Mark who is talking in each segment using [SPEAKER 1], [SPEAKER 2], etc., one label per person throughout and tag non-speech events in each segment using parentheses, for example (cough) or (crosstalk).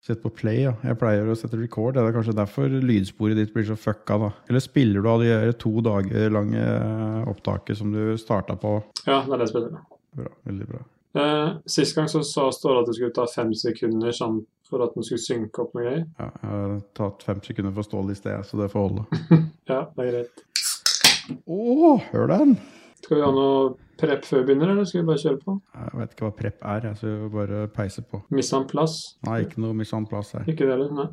[SPEAKER 1] Sett på play, ja. Jeg pleier å sette record. Det er kanskje derfor lydsporet ditt blir så fucka, da. Eller spiller du av det her to dager lange eh, opptaket som du starta på?
[SPEAKER 2] Ja, det er det jeg spiller med.
[SPEAKER 1] Bra. Veldig bra.
[SPEAKER 2] Eh, sist gang så sa Ståle at det skulle ta fem sekunder sånn, for at den skulle synke opp noe greier.
[SPEAKER 1] Ja, jeg har tatt fem sekunder for stål i sted, så det får holde.
[SPEAKER 2] Ja, det er greit.
[SPEAKER 1] Å, hør den!
[SPEAKER 2] Skal vi ha noe prep før vi begynner, eller skal vi bare kjøre på?
[SPEAKER 1] Jeg vet ikke hva prep er, jeg, så jeg vil bare peise på.
[SPEAKER 2] Missa en plass?
[SPEAKER 1] Nei, ikke noe misan plass her.
[SPEAKER 2] Ikke det heller, nei.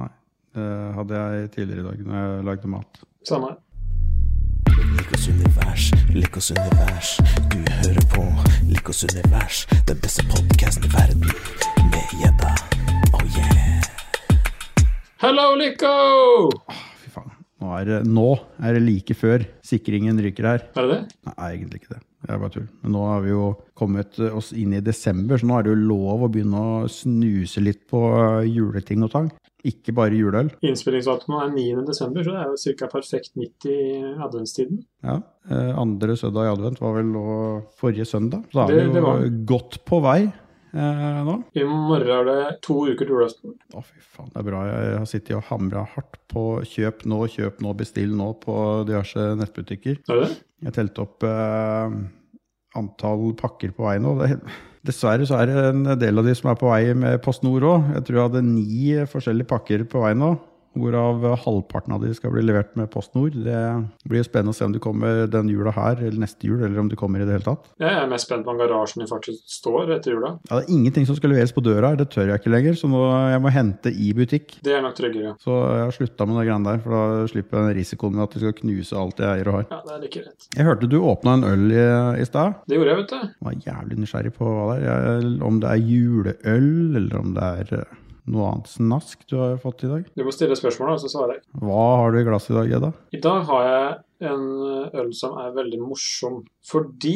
[SPEAKER 1] Nei. Det hadde jeg tidligere i dag når jeg lagde mat.
[SPEAKER 2] Samme her.
[SPEAKER 3] Likos univers, Likos univers. Du hører på Likos univers, den beste podkasten i verden. Med gjedda. Oh yeah.
[SPEAKER 2] Hello, Lico!
[SPEAKER 1] Fy faen. Nå er, det- nå er det like før sikringen ryker her.
[SPEAKER 2] Er det det?
[SPEAKER 1] Nei, egentlig ikke det. Det er bare tull. Men nå har vi jo kommet eh, oss inn i desember, så nå er det jo lov å begynne å snuse litt på eh, juleting og tang. Ikke bare juleøl.
[SPEAKER 2] Innspillingsdatoen er 9. desember, så det er jo ca. perfekt midt i adventstiden.
[SPEAKER 1] Ja. Eh, Andre søndag i advent var vel nå forrige søndag. Så da
[SPEAKER 2] Det-
[SPEAKER 1] er vi
[SPEAKER 2] det
[SPEAKER 1] jo
[SPEAKER 2] var
[SPEAKER 1] godt på vei eh, nå.
[SPEAKER 2] I morgen er det to uker til julaften.
[SPEAKER 1] Å, fy faen, det er bra. Jeg har sittet og hamra hardt på kjøp nå, kjøp nå, bestill nå på diverse nettbutikker.
[SPEAKER 2] Er det det?
[SPEAKER 1] Jeg telte opp eh, antall pakker på vei nå. Det, dessverre så er det en del av de som er på vei med PostNord òg. Jeg tror jeg hadde ni forskjellige pakker på vei nå. Hvorav halvparten av de skal bli levert med PostNord. Det blir jo spennende å se om du kommer den jula her eller neste jul, eller om du kommer i det hele tatt.
[SPEAKER 2] Jeg er mest spent på om garasjen din faktisk står etter jula.
[SPEAKER 1] Ja, det er ingenting som skal leveres på døra her, det tør jeg ikke lenger, så nå jeg må hente i butikk.
[SPEAKER 2] Det er nok tryggere.
[SPEAKER 1] Så jeg har slutta med det greiene der, for da slipper jeg den risikoen med at de skal knuse alt jeg eier og har.
[SPEAKER 2] Ja, det er like rett.
[SPEAKER 1] Jeg hørte du åpna en øl i, i stad.
[SPEAKER 2] Det gjorde jeg, vet du.
[SPEAKER 1] Jeg var jævlig nysgjerrig på hva det er. Jeg- Om det er juleøl, eller om det er eh, noe annet snask du har fått i dag.
[SPEAKER 2] Du må stille spørsmål, og så svarer jeg.
[SPEAKER 1] Hva har du i glasset i dag, Edda?
[SPEAKER 2] I dag har jeg en øl som er veldig morsom, fordi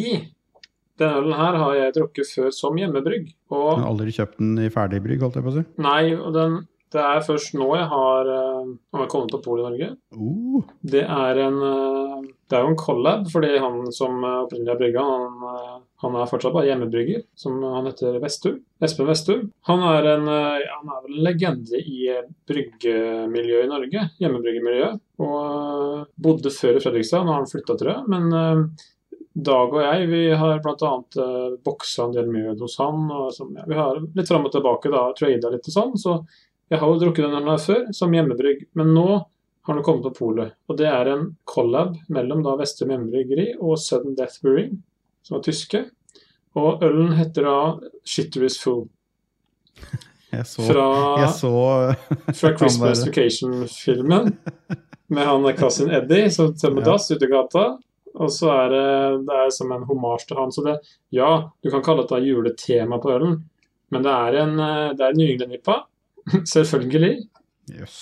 [SPEAKER 2] denne ølen her har jeg drukket før som hjemmebrygg.
[SPEAKER 1] Jeg har
[SPEAKER 2] Og
[SPEAKER 1] aldri kjøpt den i ferdigbrygg, holdt jeg på å si.
[SPEAKER 2] nei, og den, det er først nå jeg har, eh, har jeg kommet på Pol i Norge.
[SPEAKER 1] Oh,
[SPEAKER 2] Det er en eh, Det er jo en collab, fordi han som eh, opprinnelig har brygga, han, eh, han er fortsatt bare hjemmebrygger, som han heter Vestum. Espen Vestum. Han er en eh, ja, han er vel en legende i eh, bryggemiljøet i Norge. Hjemmebryggemiljøet. Og eh, bodde før i Fredrikstad, nå har han flytta, tror jeg. Men eh, Dag og jeg vi har bl.a. Uh, boksa en del mjød hos han. Og som, ja, vi har litt fram og tilbake, da, trada litt og sånn. Så jeg har jo drukket den her før, som hjemmebrygg. Men nå har nå kommet på polet. Og det er en collab mellom da Vestrum Hjemmebryggeri og Sudden Death Brewing, som er tyske. Og ølen heter da Shitter is Full.
[SPEAKER 1] jeg så, (laughs)
[SPEAKER 2] Fra,
[SPEAKER 1] jeg så
[SPEAKER 2] fra Christmas
[SPEAKER 1] være. (laughs)
[SPEAKER 2] Vacation-filmen med han Cousin Eddie som tømmer
[SPEAKER 1] Ja.
[SPEAKER 2] dass ute i gata. Og så er det, det er som en hommage til han. Så det, ja, du kan kalle det juletema på ølen, men det er en, eh, det er en New England-nippa. (laughs) Selvfølgelig.
[SPEAKER 1] Jøss.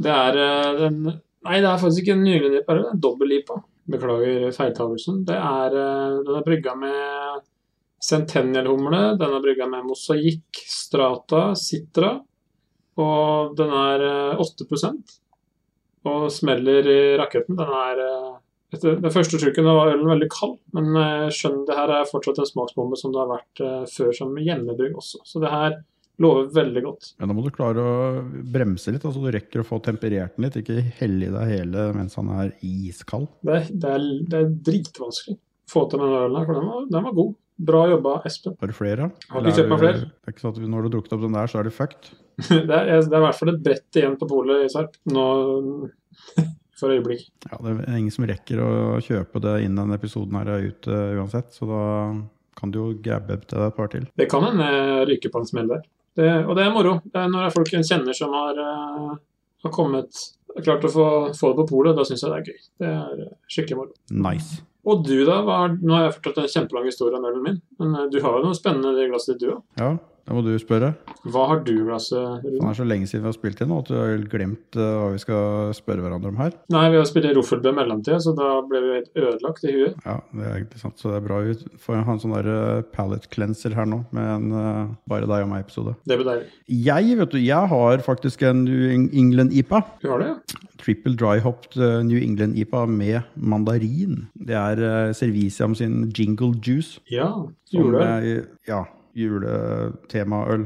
[SPEAKER 2] Det er eh, en Nei, det er faktisk ikke en nylig nipa, det er en dobbel lipa. Beklager feiltagelsen. Det er eh, Den er brygga med Centennial-humle, den er brygga med mosaikk, strata, sitra, og den er eh, 8 og smeller i raketten. Den er eh, etter Den første trukken da var ølen veldig kald, men eh, skjønn, det her er fortsatt en smaksbombe som det har vært eh, før som hjemmebrygg også. Så det her lover veldig godt.
[SPEAKER 1] Men da må du klare å bremse litt, da, så du rekker å få temperert den litt. Ikke helle i deg hele mens han er iskald.
[SPEAKER 2] Det er, det er, det er dritvanskelig å få til med den ølen her, for den var, den var god. Bra jobba, Espen. (laughs)
[SPEAKER 1] Har du flere? da?
[SPEAKER 2] Har
[SPEAKER 1] Eller
[SPEAKER 2] ikke
[SPEAKER 1] er
[SPEAKER 2] kjøpt meg
[SPEAKER 1] du-
[SPEAKER 2] flere.
[SPEAKER 1] Det er ikke sånn at når du har drukket opp den der, så er du fucked.
[SPEAKER 2] Det er, det er i hvert fall et brett igjen på polet i Sarp nå (laughs) for øyeblikk.
[SPEAKER 1] Ja, det er ingen som rekker å kjøpe det innen denne episoden her er ute uansett, så da kan du jo grabbe til deg et par til.
[SPEAKER 2] Det kan hende jeg ryker på en smell der. Det, og det er moro. Det er når det er folk en kjenner som har, eh, har kommet klart å få, få det på polet, da syns jeg det er gøy. Det er eh, skikkelig moro.
[SPEAKER 1] Nice.
[SPEAKER 2] Og du, da? Hva er, nå har jeg fortalt en kjempelang historie om ølen min, men eh, du har jo noe spennende i det glasset ditt, du òg.
[SPEAKER 1] Ja, da må du spørre.
[SPEAKER 2] Hva har du i glasset,
[SPEAKER 1] Det
[SPEAKER 2] Rune?
[SPEAKER 1] er så lenge siden vi har spilt inn nå at du har glemt eh, hva vi skal spørre hverandre om her.
[SPEAKER 2] Nei, vi har spilt Roffelbø i mellomtida, så da ble vi helt ødelagt i huet.
[SPEAKER 1] Ja, det er egentlig sant, så det er bra vi får ha en sånn der eh, palate cleanser her nå, med en eh, bare deg og meg-episode.
[SPEAKER 2] Det ble deilig.
[SPEAKER 1] Jeg, vet du, jeg har faktisk en New England IPA.
[SPEAKER 2] Du har det, ja?
[SPEAKER 1] Triple Dry Hopped eh, New England IPA med mandarin. Det er eh, Serviciam sin Jingle Juice.
[SPEAKER 2] Ja.
[SPEAKER 1] Som
[SPEAKER 2] Gjorde det.
[SPEAKER 1] er- Ja. Juletemaøl.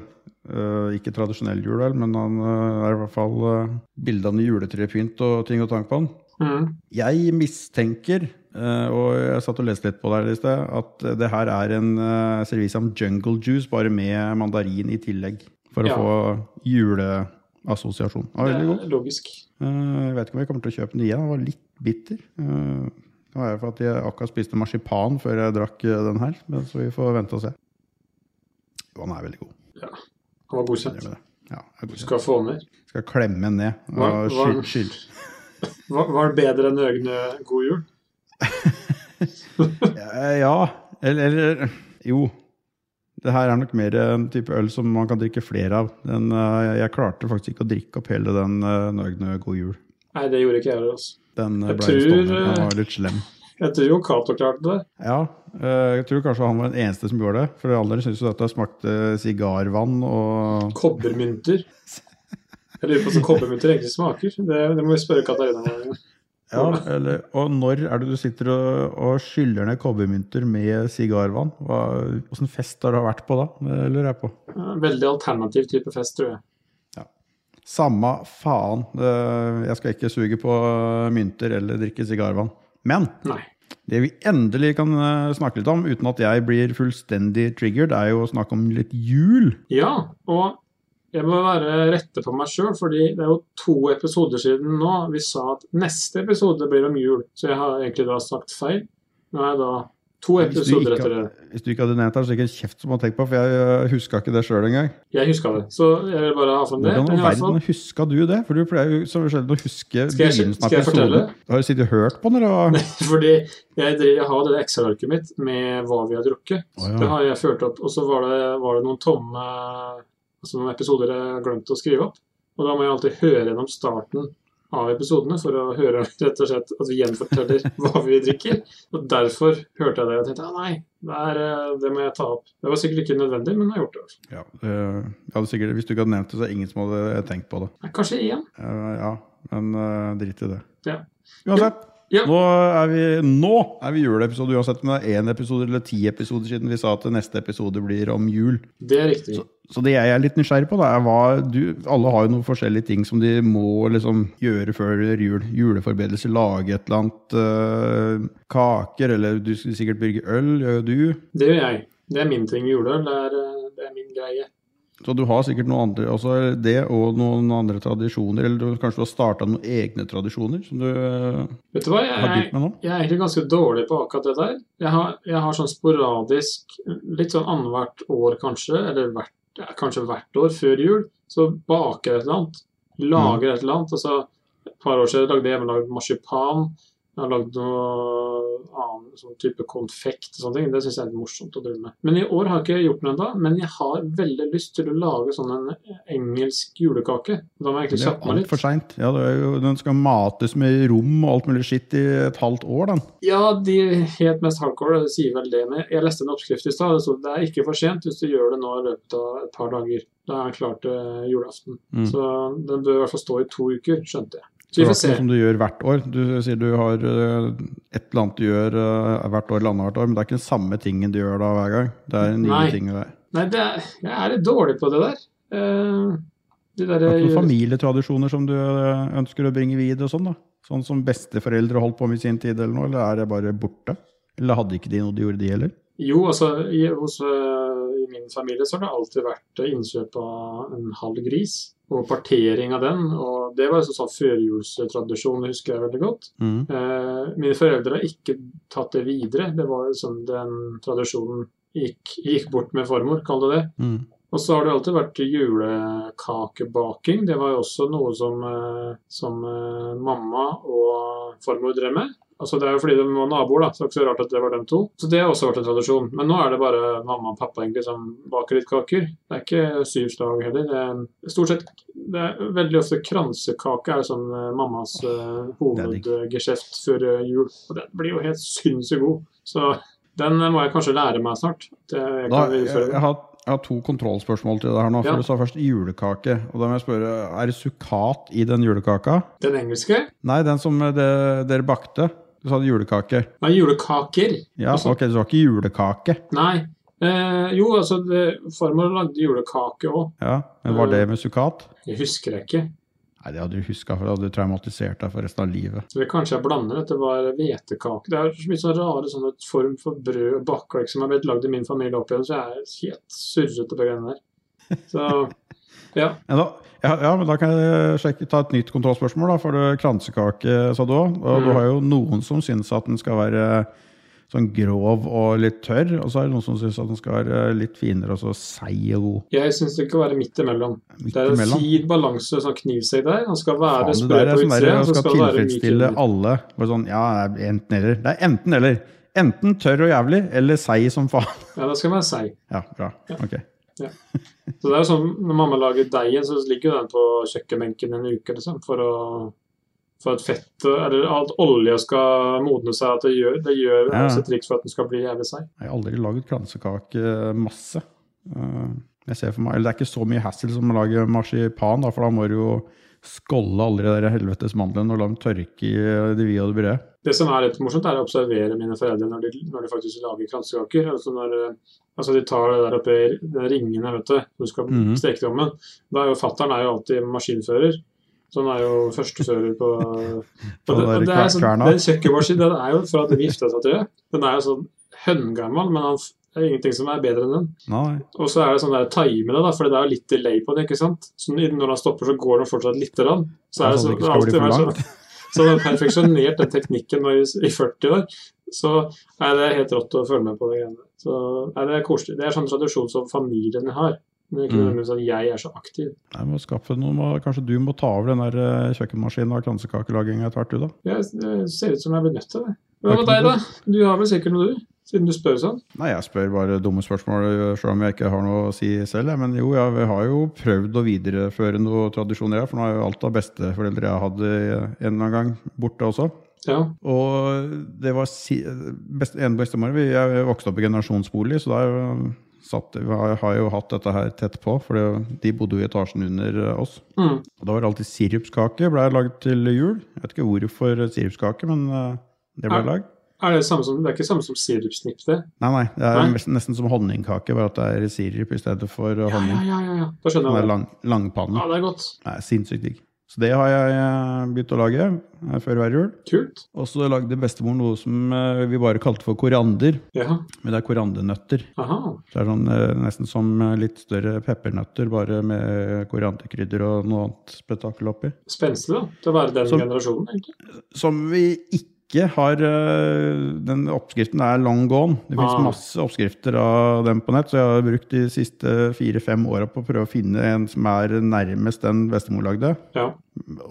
[SPEAKER 1] Eh, ikke tradisjonell juleøl, men han eh, er i hvert fall uh, bildene i juletrepynt og ting og tang på han.
[SPEAKER 2] Mm.
[SPEAKER 1] Jeg mistenker, eh, og jeg satt og leste litt på det her i sted, at det her er en uh, servise om jungle juice, bare med mandarin i tillegg. For å
[SPEAKER 2] Ja.
[SPEAKER 1] få juleassosiasjon. Ja,
[SPEAKER 2] Det
[SPEAKER 1] veldig god.
[SPEAKER 2] er logisk.
[SPEAKER 1] Eh, jeg vet ikke om jeg kommer til å kjøpe den igjen. Den var litt bitter. Eh, det var jo for at jeg akkurat spiste marsipan før jeg drakk eh, den her, men så vi får vente og se. Jo, den er veldig god.
[SPEAKER 2] Han var
[SPEAKER 1] Jeg
[SPEAKER 2] godkjent.
[SPEAKER 1] med det. Ja, jeg er
[SPEAKER 2] Du
[SPEAKER 1] god.
[SPEAKER 2] skal få den ned.
[SPEAKER 1] skal klemme den ned
[SPEAKER 2] Hva-
[SPEAKER 1] og
[SPEAKER 2] hva-
[SPEAKER 1] skyld, skyld.
[SPEAKER 2] Var, var det bedre enn Øgne god jul?
[SPEAKER 1] Eh, Ja, eller, eller Jo. Det her er nok mer en type øl som man kan drikke flere av. Den, eh, jeg klarte faktisk ikke å drikke opp hele den eh, Nøgne god jul.
[SPEAKER 2] Nei, det gjorde ikke jeg heller. Altså.
[SPEAKER 1] Den eh,
[SPEAKER 2] Jeg
[SPEAKER 1] ble
[SPEAKER 2] tror,
[SPEAKER 1] stående.
[SPEAKER 2] eh,
[SPEAKER 1] Den var litt slem.
[SPEAKER 2] Jeg tror jo Cato klarte det.
[SPEAKER 1] Ja, eh, jeg tror kanskje han var den eneste som gjorde det. For de andre syntes jo dette smakte eh, sigarvann og
[SPEAKER 2] Kobbermynter. Jeg lurer på hvordan kobbermynter egentlig smaker. Det, det må vi spørre Katarina om.
[SPEAKER 1] Ja, eller Og når er det du sitter og, og skyller ned kobbermynter med sigarvann? Hva- Åssen fest har du vært på da? Det lurer jeg på.
[SPEAKER 2] Veldig alternativ type fest, tror jeg.
[SPEAKER 1] Samme faen. Eh, Jeg skal ikke suge på eh, mynter eller drikke sigarvann. Men
[SPEAKER 2] Nei.
[SPEAKER 1] det vi endelig kan eh, snakke litt om, uten at jeg blir fullstendig triggered, er jo å snakke om litt jul.
[SPEAKER 2] Ja, og jeg må være rette på meg sjøl, fordi det er jo to episoder siden nå vi sa at neste episode blir om jul, så jeg har egentlig da sagt feil. Nå er det da to
[SPEAKER 1] Hvis du
[SPEAKER 2] episoder
[SPEAKER 1] ikke,
[SPEAKER 2] etter det.
[SPEAKER 1] hvis du ikke hadde nevnt det, så er det ikke en kjeft som har tenkt på, for jeg eh, huska ikke det sjøl engang.
[SPEAKER 2] Jeg huska det, så jeg vil bare ha frem det.
[SPEAKER 1] Hvordan i
[SPEAKER 2] Men i hvert fall,
[SPEAKER 1] verden huska du det? For du pleier jo så sjelden å huske
[SPEAKER 2] Skal jeg-
[SPEAKER 1] begynnelsen av
[SPEAKER 2] skal jeg
[SPEAKER 1] episoden.
[SPEAKER 2] fortelle? (laughs)
[SPEAKER 1] Har du sittet og hørt på den, eller? hva?
[SPEAKER 2] Fordi jeg, driver, jeg har det Excel-arket mitt med hva vi har drukket.
[SPEAKER 1] Å, ja.
[SPEAKER 2] Det har jeg ført opp. Og så var det, var det noen tomme altså noen episoder jeg glemte å skrive opp. Og da må jeg alltid høre gjennom starten av episodene for å høre (laughs) rett og slett at vi gjenforteller (laughs) hva vi drikker. Og derfor hørte jeg det og tenkte ah, nei, det, er, eh, det må jeg ta opp. Det var sikkert ikke nødvendig, men jeg har gjort det.
[SPEAKER 1] Ja, det- jeg hadde sikkert, hvis du ikke hadde nevnt det, så er det ingen som hadde tenkt på det.
[SPEAKER 2] Nei, Kanskje én.
[SPEAKER 1] Eh, Ja, men eh, drit i det.
[SPEAKER 2] Ja.
[SPEAKER 1] Uansett.
[SPEAKER 2] Ja.
[SPEAKER 1] Nå er vi, nå er vi i juleepisode, uansett om det er én episode eller ti episoder siden vi sa at neste episode blir om jul.
[SPEAKER 2] Det er riktig.
[SPEAKER 1] Så det jeg er litt nysgjerrig på, da, er hva du Alle har jo noen forskjellige ting som de må liksom gjøre før jul. Juleforberedelser, lage et eller annet. eh, kaker, eller du skulle sikkert brygge øl, gjør jo du.
[SPEAKER 2] Det gjør jeg. Det er min ting i juleøl. Det, er, eh, det er min greie.
[SPEAKER 1] Så du har sikkert noen andre også det, og noen andre tradisjoner. Eller du, kanskje du har starta noen egne tradisjoner som du eh,
[SPEAKER 2] Vet du hva?
[SPEAKER 1] har
[SPEAKER 2] Jeg,
[SPEAKER 1] begynt med nå?
[SPEAKER 2] Jeg er egentlig ganske dårlig på akkurat det der. Jeg har, jeg har sånn sporadisk, litt sånn annethvert år kanskje, eller hvert, ja, kanskje hvert år før jul, så baker jeg et eller annet. Lager et eller annet. Altså, et par år siden lagde jeg hjemmelagd marsipan. Jeg har lagd noe annen sånn type konfekt og sånne ting. Det syns jeg er litt morsomt å drive med. Men i år har jeg ikke gjort noe ennå. Men jeg har veldig lyst til å lage sånn en engelsk julekake. Da må jeg
[SPEAKER 1] Det
[SPEAKER 2] egentlig
[SPEAKER 1] er
[SPEAKER 2] kjappe meg
[SPEAKER 1] alt
[SPEAKER 2] litt.
[SPEAKER 1] for seint. Ja, det er jo- den skal mates med rom og alt mulig skitt i et halvt år, den.
[SPEAKER 2] Ja, de helt mest hardcore det sier vel det. Men jeg leste en oppskrift i stad. Det stod, det er ikke for sent hvis du gjør det nå i løpet av et par dager. Da er den klar til julaften.
[SPEAKER 1] Mm.
[SPEAKER 2] Så den bør i hvert fall stå i to uker, skjønte jeg.
[SPEAKER 1] Så
[SPEAKER 2] Så
[SPEAKER 1] det
[SPEAKER 2] vi
[SPEAKER 1] er
[SPEAKER 2] får
[SPEAKER 1] ikke
[SPEAKER 2] se.
[SPEAKER 1] noe som du gjør hvert år. Du sier du har øh, et eller annet du gjør øh, hvert år eller annethvert år, men det er ikke den samme tingen du gjør da hver gang. Det er nye
[SPEAKER 2] Nei.
[SPEAKER 1] ting. Det er
[SPEAKER 2] Nei, det er, jeg er litt dårlig på det der. Eh, de der eh,
[SPEAKER 1] Det er ikke noen familietradisjoner som du øh, ønsker å bringe videre og sånn, da? Sånn som besteforeldre holdt på med i sin tid eller noe, eller er det bare borte? Eller hadde ikke de noe de gjorde, de heller?
[SPEAKER 2] Jo, altså i, hos, eh, i min familie så har det alltid vært eh, innkjøp av en halv gris. Og partering av den. Og det var en sånn førjulstradisjon, det husker jeg veldig godt.
[SPEAKER 1] Mm.
[SPEAKER 2] Eh, mine foreldre har ikke tatt det videre. Det var liksom den tradisjonen gikk, gikk bort med farmor, kall det det.
[SPEAKER 1] Mm.
[SPEAKER 2] Og så har det alltid vært julekakebaking. Det var jo også noe som, eh, som eh, mamma og farmor drev med. Altså Det er jo fordi de var naboer, da, så det er ikke så rart at det var dem to. Så det har også vært en tradisjon. Men nå er det bare mamma og pappa egentlig som baker litt kaker. Det er ikke syv slag heller. Det er stort sett det er veldig ofte kransekake er jo sånn eh, mammas eh,
[SPEAKER 1] digg.
[SPEAKER 2] hovedgeskjeft før eh, jul. Og den blir jo helt sinnssykt god. Så den eh, må jeg kanskje lære meg snart. at jeg- jeg
[SPEAKER 1] Da,
[SPEAKER 2] kan
[SPEAKER 1] jeg,
[SPEAKER 2] videreføre den.
[SPEAKER 1] jeg, har, jeg har to kontrollspørsmål til deg her nå. For
[SPEAKER 2] Ja.
[SPEAKER 1] Du sa først julekake. Og da må jeg spørre, er det sukkat i den julekaka?
[SPEAKER 2] Den engelske?
[SPEAKER 1] Nei, den som eh, det, dere bakte. Du sa det julekake.
[SPEAKER 2] Nei, julekaker.
[SPEAKER 1] Ja,
[SPEAKER 2] Altså-
[SPEAKER 1] ok, det var ikke julekake.
[SPEAKER 2] Nei, Eh, jo, altså, det, farmor lagde julekake òg.
[SPEAKER 1] Ja, Men var
[SPEAKER 2] Øh.
[SPEAKER 1] det med sukkat?
[SPEAKER 2] Jeg husker jeg ikke.
[SPEAKER 1] Nei, det hadde du huska, for det hadde du traumatisert deg for resten av livet.
[SPEAKER 2] Så det kanskje jeg blander dette var hvetekake. Det er så mye sånne rare sånne form for brød og bakverk som har blitt lagd i min familie opp igjen, så jeg er helt surrete på greiene der. Så ja.
[SPEAKER 1] Ja, da, ja, ja, men da kan jeg sjekke, ta et nytt kontrollspørsmål, da, for det- kransekake, sa du òg. Og du
[SPEAKER 2] Mm.
[SPEAKER 1] har jo noen som syns at den skal være sånn grov og litt tørr, og så er det noen som syns at den skal være litt finere og så seig og god.
[SPEAKER 2] Jeg syns det skal være midt imellom.
[SPEAKER 1] Midt
[SPEAKER 2] Det er en
[SPEAKER 1] imellom.
[SPEAKER 2] sid balanse, sånn knivsegg der. Han skal
[SPEAKER 1] Faen,
[SPEAKER 2] være
[SPEAKER 1] det
[SPEAKER 2] sprø
[SPEAKER 1] der er
[SPEAKER 2] på
[SPEAKER 1] sånn der,
[SPEAKER 2] utsida,
[SPEAKER 1] jeg
[SPEAKER 2] og så
[SPEAKER 1] skal
[SPEAKER 2] skal det være myk
[SPEAKER 1] tilfredsstille
[SPEAKER 2] inni.
[SPEAKER 1] alle. Bare sånn, ja, det er enten eller. Det er enten eller. Enten tørr og jævlig, eller seig som faen. (laughs)
[SPEAKER 2] Ja, det skal være seig.
[SPEAKER 1] Ja, bra. Ok.
[SPEAKER 2] Så det er jo sånn, Når mamma lager deigen, så ligger jo den på kjøkkenbenken en uke liksom, for, å, for at fett Eller at olje skal modne seg. at Det gjør, det gjør
[SPEAKER 1] Ja.
[SPEAKER 2] også et triks for at den skal bli jævlig seig.
[SPEAKER 1] Jeg har aldri laget kransekake masse. Eh, Jeg ser for meg, eller Det er ikke så mye hassle som å lage marsipan, da, for da må du jo skålle alle de der helvetes mandlene og la dem tørke i det vide og det brede.
[SPEAKER 2] Det som er litt morsomt, er å observere mine foreldre når de, når de faktisk lager kransekaker. Altså når eh, altså de tar det der oppe i den ringene, vet du, når du skal
[SPEAKER 1] Mhm.
[SPEAKER 2] steke det om igjen. Da er jo fattern er jo alltid maskinfører. Så han er jo førstefører på
[SPEAKER 1] (laughs) På
[SPEAKER 2] og det, og
[SPEAKER 1] den
[SPEAKER 2] det
[SPEAKER 1] der
[SPEAKER 2] er sånn,
[SPEAKER 1] kverna.
[SPEAKER 2] Den kjøkkenmaskinen den er jo fra at vi gifta seg, tror jeg. Den er jo sånn høngammel, men han, det er ingenting som er bedre enn den.
[SPEAKER 1] Nei.
[SPEAKER 2] Og så er det sånn der time det, da, for det er jo litt delay på det. ikke sant? Så når han stopper, så går den fortsatt lite grann. Så er
[SPEAKER 1] Ja,
[SPEAKER 2] det,
[SPEAKER 1] sånn at
[SPEAKER 2] så,
[SPEAKER 1] det
[SPEAKER 2] det
[SPEAKER 1] ikke
[SPEAKER 2] har
[SPEAKER 1] skal bli
[SPEAKER 2] alltid
[SPEAKER 1] for
[SPEAKER 2] vært sånn. (laughs) Så han har perfeksjonert den teknikken nå i, i 40 år. Så nei, det er helt rått å følge med på de greiene. der. Så nei, Det er koselig. Det er sånn tradisjon som familien har. Men det er ikke
[SPEAKER 1] Mm.
[SPEAKER 2] nødvendigvis at jeg er så aktiv.
[SPEAKER 1] Nei, må skaffe noe, må- Kanskje du må ta over den der eh, kjøkkenmaskinen og kransekakelaginga etter hvert, du, da?
[SPEAKER 2] Jeg, det ser ut som jeg blir nødt til det. Hva med
[SPEAKER 1] Takk,
[SPEAKER 2] deg, da? Du har vel sikkert noe, du? Siden du spør sånn.
[SPEAKER 1] Nei, jeg spør bare dumme spørsmål, eh, selv om jeg ikke har noe å si selv. jeg. Men jo, jeg har jo prøvd å videreføre noen tradisjoner her, for nå er jo alt av besteforeldre jeg hadde en eller annen gang, borte også.
[SPEAKER 2] Ja.
[SPEAKER 1] Og det var si, best, en bestemor vi- Jeg vokste opp i generasjonsbolig, så der øh, satt, har jeg jo hatt dette her tett på, for det- de bodde jo i etasjen under øh, oss.
[SPEAKER 2] Mm.
[SPEAKER 1] Og da var det alltid sirupskake ble laget til jul. Jeg vet ikke hvorfor sirupskake, men øh, det ble
[SPEAKER 2] Er-
[SPEAKER 1] lagd.
[SPEAKER 2] Er det, samme som, det er ikke samme som sirupsnipp, det?
[SPEAKER 1] Nei, nei, det er
[SPEAKER 2] Nei?
[SPEAKER 1] mest- nesten som honningkake, bare at det er sirup i stedet for øh,
[SPEAKER 2] Ja, ja,
[SPEAKER 1] honning.
[SPEAKER 2] ja. ja, ja. Da skjønner
[SPEAKER 1] Den
[SPEAKER 2] jeg
[SPEAKER 1] er
[SPEAKER 2] det.
[SPEAKER 1] lang, langpanne.
[SPEAKER 2] Ja, det er godt.
[SPEAKER 1] Det er sinnssykt digg. Så det har jeg øh, begynt å lage øh, før hver jul.
[SPEAKER 2] Kult.
[SPEAKER 1] Og så lagde bestemor noe som øh, vi bare kalte for koriander.
[SPEAKER 2] Ja.
[SPEAKER 1] Men det er koriandernøtter.
[SPEAKER 2] Aha.
[SPEAKER 1] Så Det er sånn, eh, nesten som eh, litt større peppernøtter, bare med korianderkrydder og noe annet spetakkel oppi.
[SPEAKER 2] Spenstig, da. Til å være den
[SPEAKER 1] Som-
[SPEAKER 2] generasjonen, egentlig.
[SPEAKER 1] Som vi ikke har eh, Den oppskriften er long gone. Det fins
[SPEAKER 2] Ah.
[SPEAKER 1] masse oppskrifter av dem på nett, så jeg har brukt de siste fire-fem åra på å prøve å finne en som er nærmest den bestemor lagde.
[SPEAKER 2] Ja.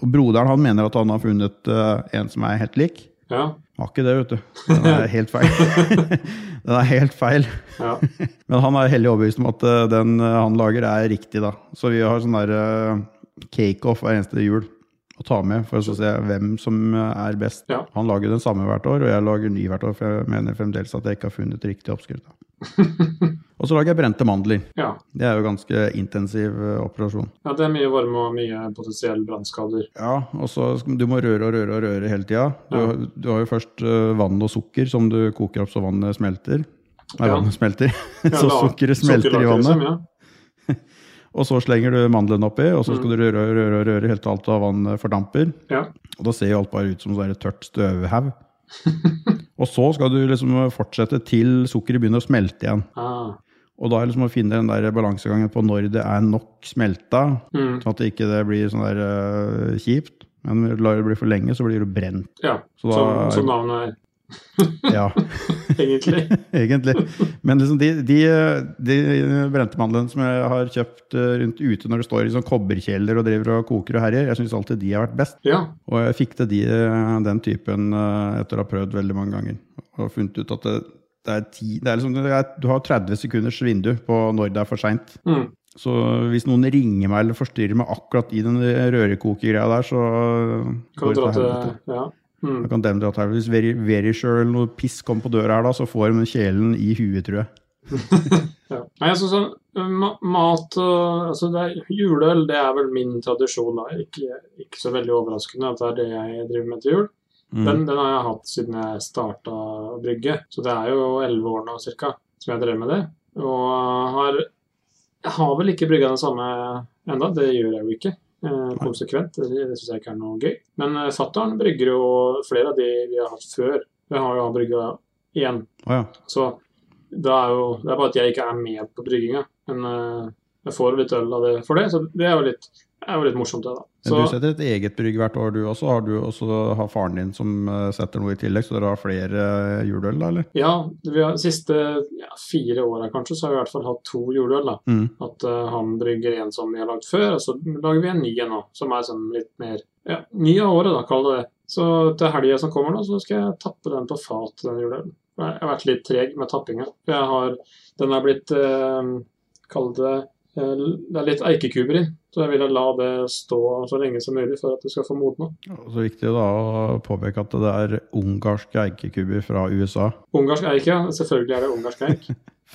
[SPEAKER 1] Og broderen han mener at han har funnet eh, en som er helt lik.
[SPEAKER 2] Ja.
[SPEAKER 1] Har ikke det, vet du. Den er helt feil. (laughs) den er helt feil.
[SPEAKER 2] ja.
[SPEAKER 1] Men han er hellig overbevist om at eh, den eh, han lager, er riktig, da. Så vi har sånn der eh, cake-off hver eneste jul å ta med for å se hvem som eh, er best.
[SPEAKER 2] Ja.
[SPEAKER 1] Han lager den samme hvert år, og jeg lager ny hvert år, for jeg mener fremdeles at jeg ikke har funnet riktig oppskrift. da.
[SPEAKER 2] (laughs)
[SPEAKER 1] og så lager jeg brente mandler.
[SPEAKER 2] ja.
[SPEAKER 1] Det er jo ganske intensiv eh, operasjon.
[SPEAKER 2] Ja, det er mye varme og mye potensielle brannskader.
[SPEAKER 1] Ja, og så skal- Du må røre og røre og røre hele tida. Du,
[SPEAKER 2] Ja.
[SPEAKER 1] du har jo først eh, vann og sukker som du koker opp så vannet smelter. Nei,
[SPEAKER 2] Ja.
[SPEAKER 1] vannet smelter. (laughs)
[SPEAKER 2] Ja,
[SPEAKER 1] så
[SPEAKER 2] la-
[SPEAKER 1] sukkeret smelter i vannet.
[SPEAKER 2] sukkerlaker, liksom, ja.
[SPEAKER 1] Og så slenger du mandlene oppi, og så skal du røre og røre, og røre helt til alt av vannet fordamper.
[SPEAKER 2] Ja.
[SPEAKER 1] Og da ser jo alt bare ut som sånn et tørt (laughs) støvhaug. og så skal du liksom fortsette til sukkeret begynner å smelte igjen.
[SPEAKER 2] Ah.
[SPEAKER 1] Og da er liksom å finne den der balansegangen på når det er nok smelta,
[SPEAKER 2] Mm.
[SPEAKER 1] sånn at det ikke det blir sånn der øh, kjipt. Men lar det bli for lenge, så blir du brent.
[SPEAKER 2] ja.
[SPEAKER 1] Så da-
[SPEAKER 2] som, som navnet
[SPEAKER 1] Ja,
[SPEAKER 2] er, egentlig.
[SPEAKER 1] (laughs) egentlig. Men liksom de, de, de brente mandlene som jeg har kjøpt øh, rundt ute når det står i sånn kobberkjeller og driver og koker og herjer, jeg syns alltid de har vært best.
[SPEAKER 2] Ja.
[SPEAKER 1] Og jeg fikk til de, den typen eh, etter å ha prøvd veldig mange ganger. Og funnet ut at det, det er ti, det er liksom, det er, du har 30 sekunders vindu på når det er for seint.
[SPEAKER 2] Mm.
[SPEAKER 1] Så hvis noen ringer meg eller forstyrrer meg akkurat i den rørekokegreia der, så
[SPEAKER 2] Kan
[SPEAKER 1] går
[SPEAKER 2] du
[SPEAKER 1] det
[SPEAKER 2] dra
[SPEAKER 1] til
[SPEAKER 2] til
[SPEAKER 1] helvete.
[SPEAKER 2] Ja. Mm.
[SPEAKER 1] Da kan dem dra til helvete. Hvis Veri- Verisure eller noe piss kommer på døra her, da, så får de kjelen i huet, tror jeg.
[SPEAKER 2] Ja. Nei, altså sånn, ma- mat og altså det er, Juleøl det er vel min tradisjon. da. Ikke, ikke så veldig overraskende at det er det jeg driver med til jul.
[SPEAKER 1] Mm.
[SPEAKER 2] Den, den har jeg hatt siden jeg starta å brygge, så det er jo elleve år nå cirka som jeg drev med det. Og har, har vel ikke brygga den samme enda, det gjør jeg jo ikke. Eh, konsekvent, det, det syns jeg ikke er noe gøy. Men eh, fattern brygger jo flere av de vi har hatt før. Vi har jo brygga igjen.
[SPEAKER 1] Å ja.
[SPEAKER 2] Så det er jo det er bare at jeg ikke er med på brygginga. Men eh, jeg får jo litt øl av det for det, så det er jo litt, er jo litt morsomt, det, da.
[SPEAKER 1] Men
[SPEAKER 2] Så,
[SPEAKER 1] du setter et eget brygg hvert år, du også. Har du også har faren din som eh, setter noe i tillegg, så dere har flere eh, juleøl, da, eller?
[SPEAKER 2] Ja, vi har, de siste ja, fire åra kanskje, så har vi i hvert fall hatt to juleøl. da.
[SPEAKER 1] Mm.
[SPEAKER 2] At eh, han brygger en som vi har lagd før, og så lager vi en ny en nå, som er sånn litt mer ja, ny av året, da, kall det det. Så til helga som kommer nå, så skal jeg tappe den på fat, den juleølen. For Jeg har vært litt treg med tappinga. For Jeg har, den er blitt eh, Kall det eh, Det er litt eikekuber i, så jeg ville la det stå så lenge som mulig for at det skal få modna.
[SPEAKER 1] Og Så viktig da å påpeke at det er ungarske eikekuber fra USA.
[SPEAKER 2] Ungarsk eik, ja. Selvfølgelig er det ungarsk eik.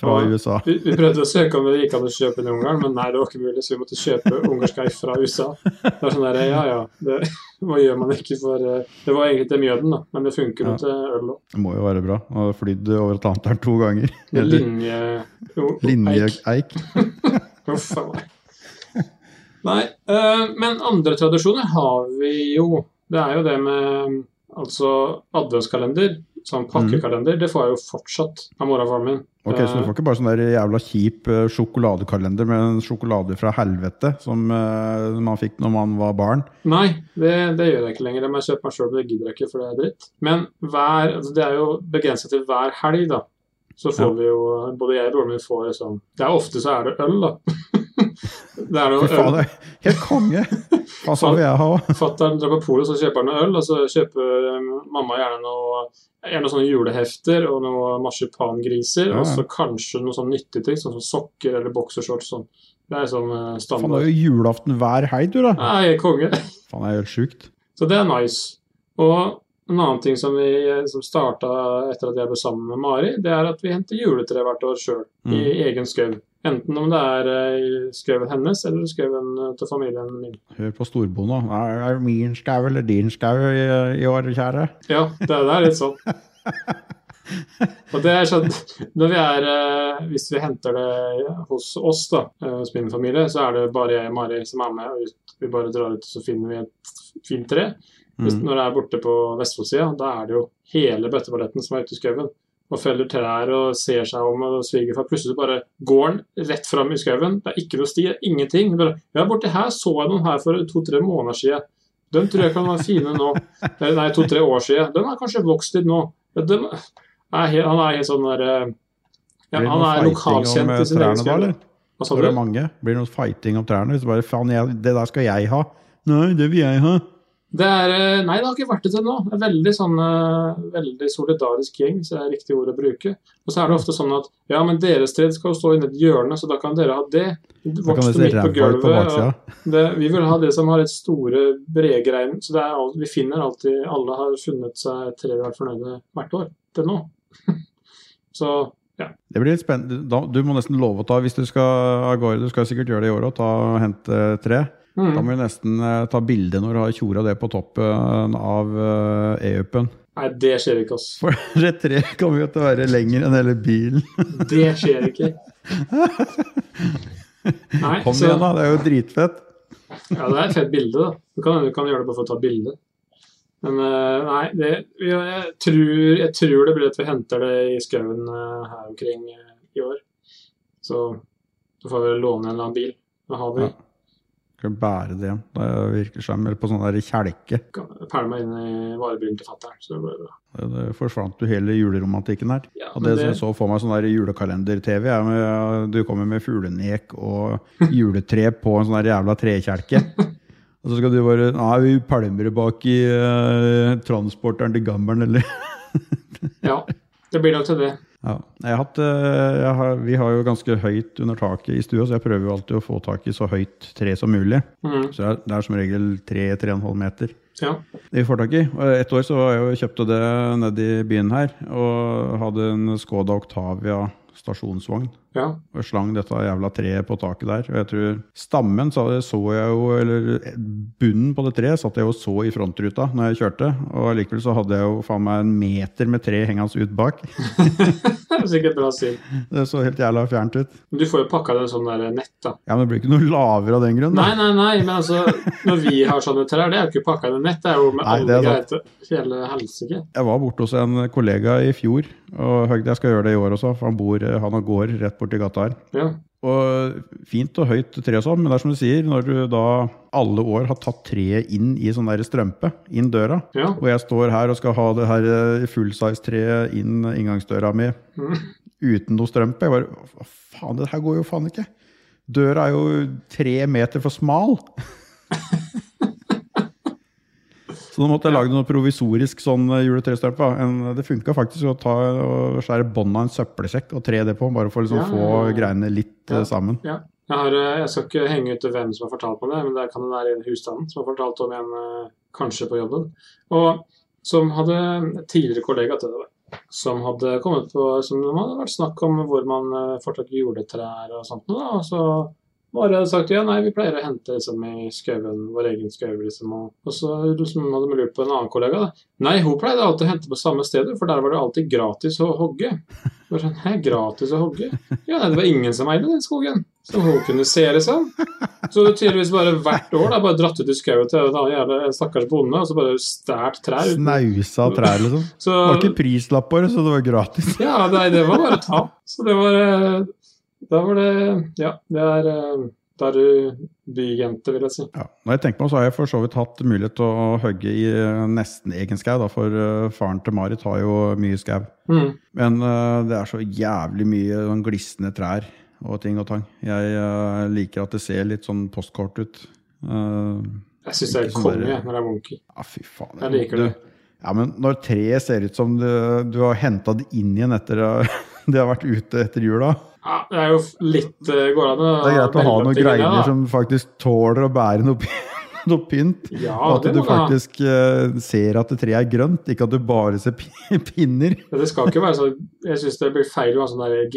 [SPEAKER 1] Fra
[SPEAKER 2] Ja.
[SPEAKER 1] USA. (laughs)
[SPEAKER 2] Vi, vi prøvde å søke om det gikk an å kjøpe den i Ungarn, men nei, det var ikke mulig, så vi måtte kjøpe ungarsk ei fra USA. Det var sånn der, ja, ja, det, (laughs) Hva gjør man ikke for eh, Det var egentlig til mjøden, da, men det funker jo
[SPEAKER 1] Ja.
[SPEAKER 2] til øl òg.
[SPEAKER 1] Det må jo være bra. Han har flydd over Atlanteren to
[SPEAKER 2] (laughs)
[SPEAKER 1] ganger. Eller
[SPEAKER 2] Linje... jo, eik.
[SPEAKER 1] linjeeik.
[SPEAKER 2] Huff a meg. Nei, eh, men andre tradisjoner har vi jo. Det er jo det med altså adventskalender, sånn pakkekalender, det får jeg jo fortsatt av mora og faren min.
[SPEAKER 1] Ok, Så du får ikke bare sånn der jævla kjip eh, sjokoladekalender med en sjokolade fra helvete som eh, man fikk når man var barn?
[SPEAKER 2] Nei, det, det gjør jeg ikke lenger. Det må jeg kjøpe meg sjøl, det gidder jeg ikke, for det er dritt. Men hver, altså det er jo begrenset til hver helg, da. Så får
[SPEAKER 1] Ja.
[SPEAKER 2] vi jo Både jeg og broren min får liksom Det er ofte så er det øl, da. (laughs) det
[SPEAKER 1] Fy
[SPEAKER 2] er noe
[SPEAKER 1] faen,
[SPEAKER 2] øl.
[SPEAKER 1] det er helt konge!
[SPEAKER 2] (laughs)
[SPEAKER 1] Hva så vil jeg ha?
[SPEAKER 2] Fatter'n drar på polet, så kjøper han noe øl. Og så kjøper um, mamma gjerne noe gjerne sånne julehefter og noe marsipangriser.
[SPEAKER 1] Ja, ja.
[SPEAKER 2] Og så kanskje noe sånn nyttig ting, sånn som sokker eller boksershorts. Sånn. Det er sånn eh,
[SPEAKER 1] Faen, det er
[SPEAKER 2] standard.
[SPEAKER 1] jo julaften hver helg, du, da!
[SPEAKER 2] Nei, konge.
[SPEAKER 1] Faen, det er helt sjukt.
[SPEAKER 2] Så det er nice. Og en annen ting som, vi- som starta etter at jeg ble sammen med Mari, det er at vi henter juletre hvert år sjøl,
[SPEAKER 1] Mm.
[SPEAKER 2] i egen skau. Enten om det er eh, i skauen hennes eller skauen eh, til familien min.
[SPEAKER 1] Hør på storbonda. Er er det min skau eller din skau i, i år, kjære?
[SPEAKER 2] Ja, det, det er litt sånn. Og det er sånn, når vi er, eh, Hvis vi henter det hos oss, da, eh, hos min familie, så er det bare jeg og Mari som er med. og ut- Vi bare drar ut og så finner vi et fint tre. Hvis,
[SPEAKER 1] Mm.
[SPEAKER 2] Når det er borte på Vestfoldsida, da er det jo hele bøtteballetten som er ute i skauen. Og feller trær og ser seg om og svigerfar. Plutselig bare går han rett fram i skauen. Det er ikke noe sti, det er ingenting. Bare, ja, borti her så jeg noen her for to-tre måneder siden. De tror jeg kan være
[SPEAKER 1] (laughs)
[SPEAKER 2] fine nå. Eller nei, to-tre år siden. De har kanskje vokst litt nå. Ja, dem er helt, han er helt sånn der eh, ja,
[SPEAKER 1] Blir det noe
[SPEAKER 2] Han er
[SPEAKER 1] fighting om
[SPEAKER 2] lokalkjent
[SPEAKER 1] eh,
[SPEAKER 2] i sin egen
[SPEAKER 1] trærne da,
[SPEAKER 2] skau.
[SPEAKER 1] eller?
[SPEAKER 2] Hva sa
[SPEAKER 1] Når det er
[SPEAKER 2] du?
[SPEAKER 1] mange? Blir det noe fighting om trærne? Hvis du bare, faen, jeg, det der skal jeg ha. Nei, det vil jeg ha.
[SPEAKER 2] Det er, eh, nei, det har ikke vært det til nå. Det er veldig, sånn, eh, veldig solidarisk gjeng, hvis det er riktig ord å bruke. Og så er det ofte sånn at ja, men deres tre skal jo stå inni et hjørne, så da kan dere ha det.
[SPEAKER 1] Da kan
[SPEAKER 2] Vokst
[SPEAKER 1] du se
[SPEAKER 2] midt
[SPEAKER 1] ræva
[SPEAKER 2] på
[SPEAKER 1] ut på
[SPEAKER 2] gulvet.
[SPEAKER 1] baksida.
[SPEAKER 2] og Det, vi vil ha det som har litt store, brede greiner. Så det er, alt- vi finner alltid Alle har funnet seg et tre de har vært fornøyde hvert år til nå. (laughs) så ja.
[SPEAKER 1] Det blir litt spennende. Da, du må nesten love å ta, hvis du skal av gårde, du skal sikkert gjøre det i år òg, ta og hente eh, tre.
[SPEAKER 2] Mm.
[SPEAKER 1] Da må du nesten eh, ta bilde når du har tjora det på toppen av eh, e-upen.
[SPEAKER 2] Nei, det skjer ikke, ass.
[SPEAKER 1] For det treet kommer jo til å være lenger enn hele bilen.
[SPEAKER 2] Det skjer
[SPEAKER 1] (laughs)
[SPEAKER 2] ikke. Nei,
[SPEAKER 1] Kom
[SPEAKER 2] så-
[SPEAKER 1] igjen, da. Det er jo dritfett.
[SPEAKER 2] Ja, det er et fett bilde, da. Du kan, du kan gjøre det bare for å ta bilde. Men eh, nei, det, ja, jeg, tror, jeg tror det blir at vi henter det i skauen eh, her omkring eh, i år. Så da får vi låne en eller annen bil. Da har vi
[SPEAKER 1] Ja. Skal bære det hjem. Det virker som eller på sånn der kjelke.
[SPEAKER 2] kan- pælma inn i varebilen til fatter'n. Så det blir bra.
[SPEAKER 1] Det, det forsvant jo hele juleromantikken her.
[SPEAKER 2] Ja,
[SPEAKER 1] Og det,
[SPEAKER 2] men det,
[SPEAKER 1] som jeg så for meg sånn der julekalender-TV, er med, ja, du kommer med fuglenek og juletre på en sånn der jævla trekjelke. Og så skal du bare Nei, vi pælmer det bak i eh, transporteren til gammelen, eller
[SPEAKER 2] ja, det blir nok til det.
[SPEAKER 1] ja. jeg har hatt, eh, jeg har, Vi har jo ganske høyt under taket i stua, så jeg prøver jo alltid å få tak i så høyt tre som mulig.
[SPEAKER 2] Mm,
[SPEAKER 1] Så det er, det er som regel tre-tre og en halv meter.
[SPEAKER 2] ja.
[SPEAKER 1] Det vi får tak i. Og Et år så var jeg og kjøpte det nede i byen her, og hadde en Skoda Octavia stasjonsvogn.
[SPEAKER 2] ja.
[SPEAKER 1] Og slang dette jævla treet på taket der. Og jeg tror stammen så, så jeg jo, eller bunnen på det treet satt jeg jo og så i frontruta når jeg kjørte. Og likevel så hadde jeg jo faen meg en meter med tre hengende ut bak.
[SPEAKER 2] Det er sikkert Brasil.
[SPEAKER 1] (laughs) Det så helt jævla fjernt ut.
[SPEAKER 2] Men du får jo pakka det i en sånn der nett, da.
[SPEAKER 1] Ja, men det blir ikke noe lavere av den grunn. da.
[SPEAKER 2] Nei, nei, nei, men altså, når vi har sånne trær, det er jo ikke pakka inn i nett. Det er jo med
[SPEAKER 1] Nei, det
[SPEAKER 2] alle
[SPEAKER 1] er sant.
[SPEAKER 2] greier til hele helsike.
[SPEAKER 1] Jeg var borte hos en kollega i fjor, og Høgde, jeg skal gjøre det i år også, for han bor, han har gård rett borti gata her.
[SPEAKER 2] Ja.
[SPEAKER 1] Og fint og høyt tre og sånn, men det er som du sier, når du da alle år har tatt treet inn i sånn der strømpe, inn døra,
[SPEAKER 2] ja.
[SPEAKER 1] og jeg står her og skal ha det her eh, fullsize-treet inn inngangsdøra mi
[SPEAKER 2] Mm.
[SPEAKER 1] uten noe strømpe, jeg bare, hva faen, det her går jo faen ikke. Døra er jo tre meter for
[SPEAKER 2] (laughs)
[SPEAKER 1] smal. Så nå måtte jeg lage noe provisorisk sånn eh, juletrestrømpe. da. En- Det funka faktisk å ta og skjære båndet av en søppelsekk og tre det på, bare for å liksom
[SPEAKER 2] Ja,
[SPEAKER 1] få
[SPEAKER 2] ja, ja.
[SPEAKER 1] greiene litt eh,
[SPEAKER 2] Ja.
[SPEAKER 1] sammen.
[SPEAKER 2] Jeg, har, eh, jeg skal ikke henge ut hvem som har fortalt meg det, men det kan den der ene husstanden som har fortalt om en eh, kanskje på jobben. Og som hadde tidligere kollega til det, som hadde kommet på som det hadde vært snakk om hvor man eh, får tak i juletrær og sånt noe, da. Og så var jeg sagt ja, nei, vi pleier å hente liksom i skauen, vår egen skau, liksom. Og, og så liksom, hadde vi lurt på en annen kollega, da. Nei, hun pleide alltid å hente på samme sted, for der var det alltid gratis å hogge. Det var sånn, Hæ, gratis å hogge? Ja, nei, det var ingen som eide den skogen. Som hun kunne se, liksom. Så det er tydeligvis bare hvert år da, bare dratt ut i skauen til en annen jævla stakkars bonde, og så bare stært trær. uten-
[SPEAKER 1] Snausa trær, liksom.
[SPEAKER 2] Så,
[SPEAKER 1] Det var ikke prislapp på det, så det var gratis.
[SPEAKER 2] ja, nei, det var bare tap. Så det var eh, Da var det Ja, det er eh, Da er du byjente, vil jeg si.
[SPEAKER 1] Ja. Når jeg tenker meg om, så har jeg for så vidt hatt mulighet til å hogge i eh, nesten egen skau, da, for eh, faren til Marit har jo mye skau.
[SPEAKER 2] Mm.
[SPEAKER 1] Men eh, det er så jævlig mye sånn glisne trær og ting og tang. Jeg eh, liker at det ser litt sånn postkort ut. Eh,
[SPEAKER 2] Jeg syns jeg er
[SPEAKER 1] Ikke sånn
[SPEAKER 2] konge
[SPEAKER 1] der-
[SPEAKER 2] jeg, når jeg er monkey.
[SPEAKER 1] ja, fy faen.
[SPEAKER 2] Jeg liker det.
[SPEAKER 1] Du, ja, men når treet ser ut som du, du har henta det inn igjen etter eh, det har (laughs) vært ute etter jula
[SPEAKER 2] Ja, det er jo f- litt eh, Går an å
[SPEAKER 1] Det er greit å ha
[SPEAKER 2] velge
[SPEAKER 1] noen
[SPEAKER 2] opp de
[SPEAKER 1] greier
[SPEAKER 2] tingene, da.
[SPEAKER 1] som faktisk tåler å bære noe, py- (laughs) noe pynt.
[SPEAKER 2] Ja,
[SPEAKER 1] Og at
[SPEAKER 2] det
[SPEAKER 1] du
[SPEAKER 2] må du ha.
[SPEAKER 1] faktisk eh, ser at treet er grønt, ikke at du bare ser pi- (laughs) pinner.
[SPEAKER 2] Ja, Det skal ikke være sånn Jeg syns det blir feil å ha sånne der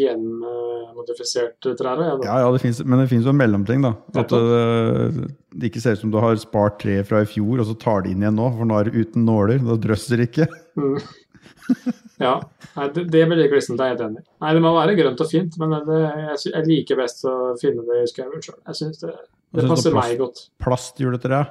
[SPEAKER 2] genmodifiserte eh, trær. og Jeg, da.
[SPEAKER 1] Ja, ja, det finnes, Men det fins jo en mellomting, da. At
[SPEAKER 2] Ja.
[SPEAKER 1] eh, det ikke ser ut som du har spart treet fra i fjor, og så tar det inn igjen nå, for nå er det uten nåler. Da drøsser det ikke.
[SPEAKER 2] Mm. ja. Nei, det, det blir litt glissent, jeg er helt enig. Nei, det må være grønt og fint, men det, jeg, sy- jeg liker best å finne det i skauen sjøl. Jeg syns det,
[SPEAKER 1] Jeg
[SPEAKER 2] det
[SPEAKER 1] synes
[SPEAKER 2] passer
[SPEAKER 1] det
[SPEAKER 2] meg godt.
[SPEAKER 1] Plastjuletre.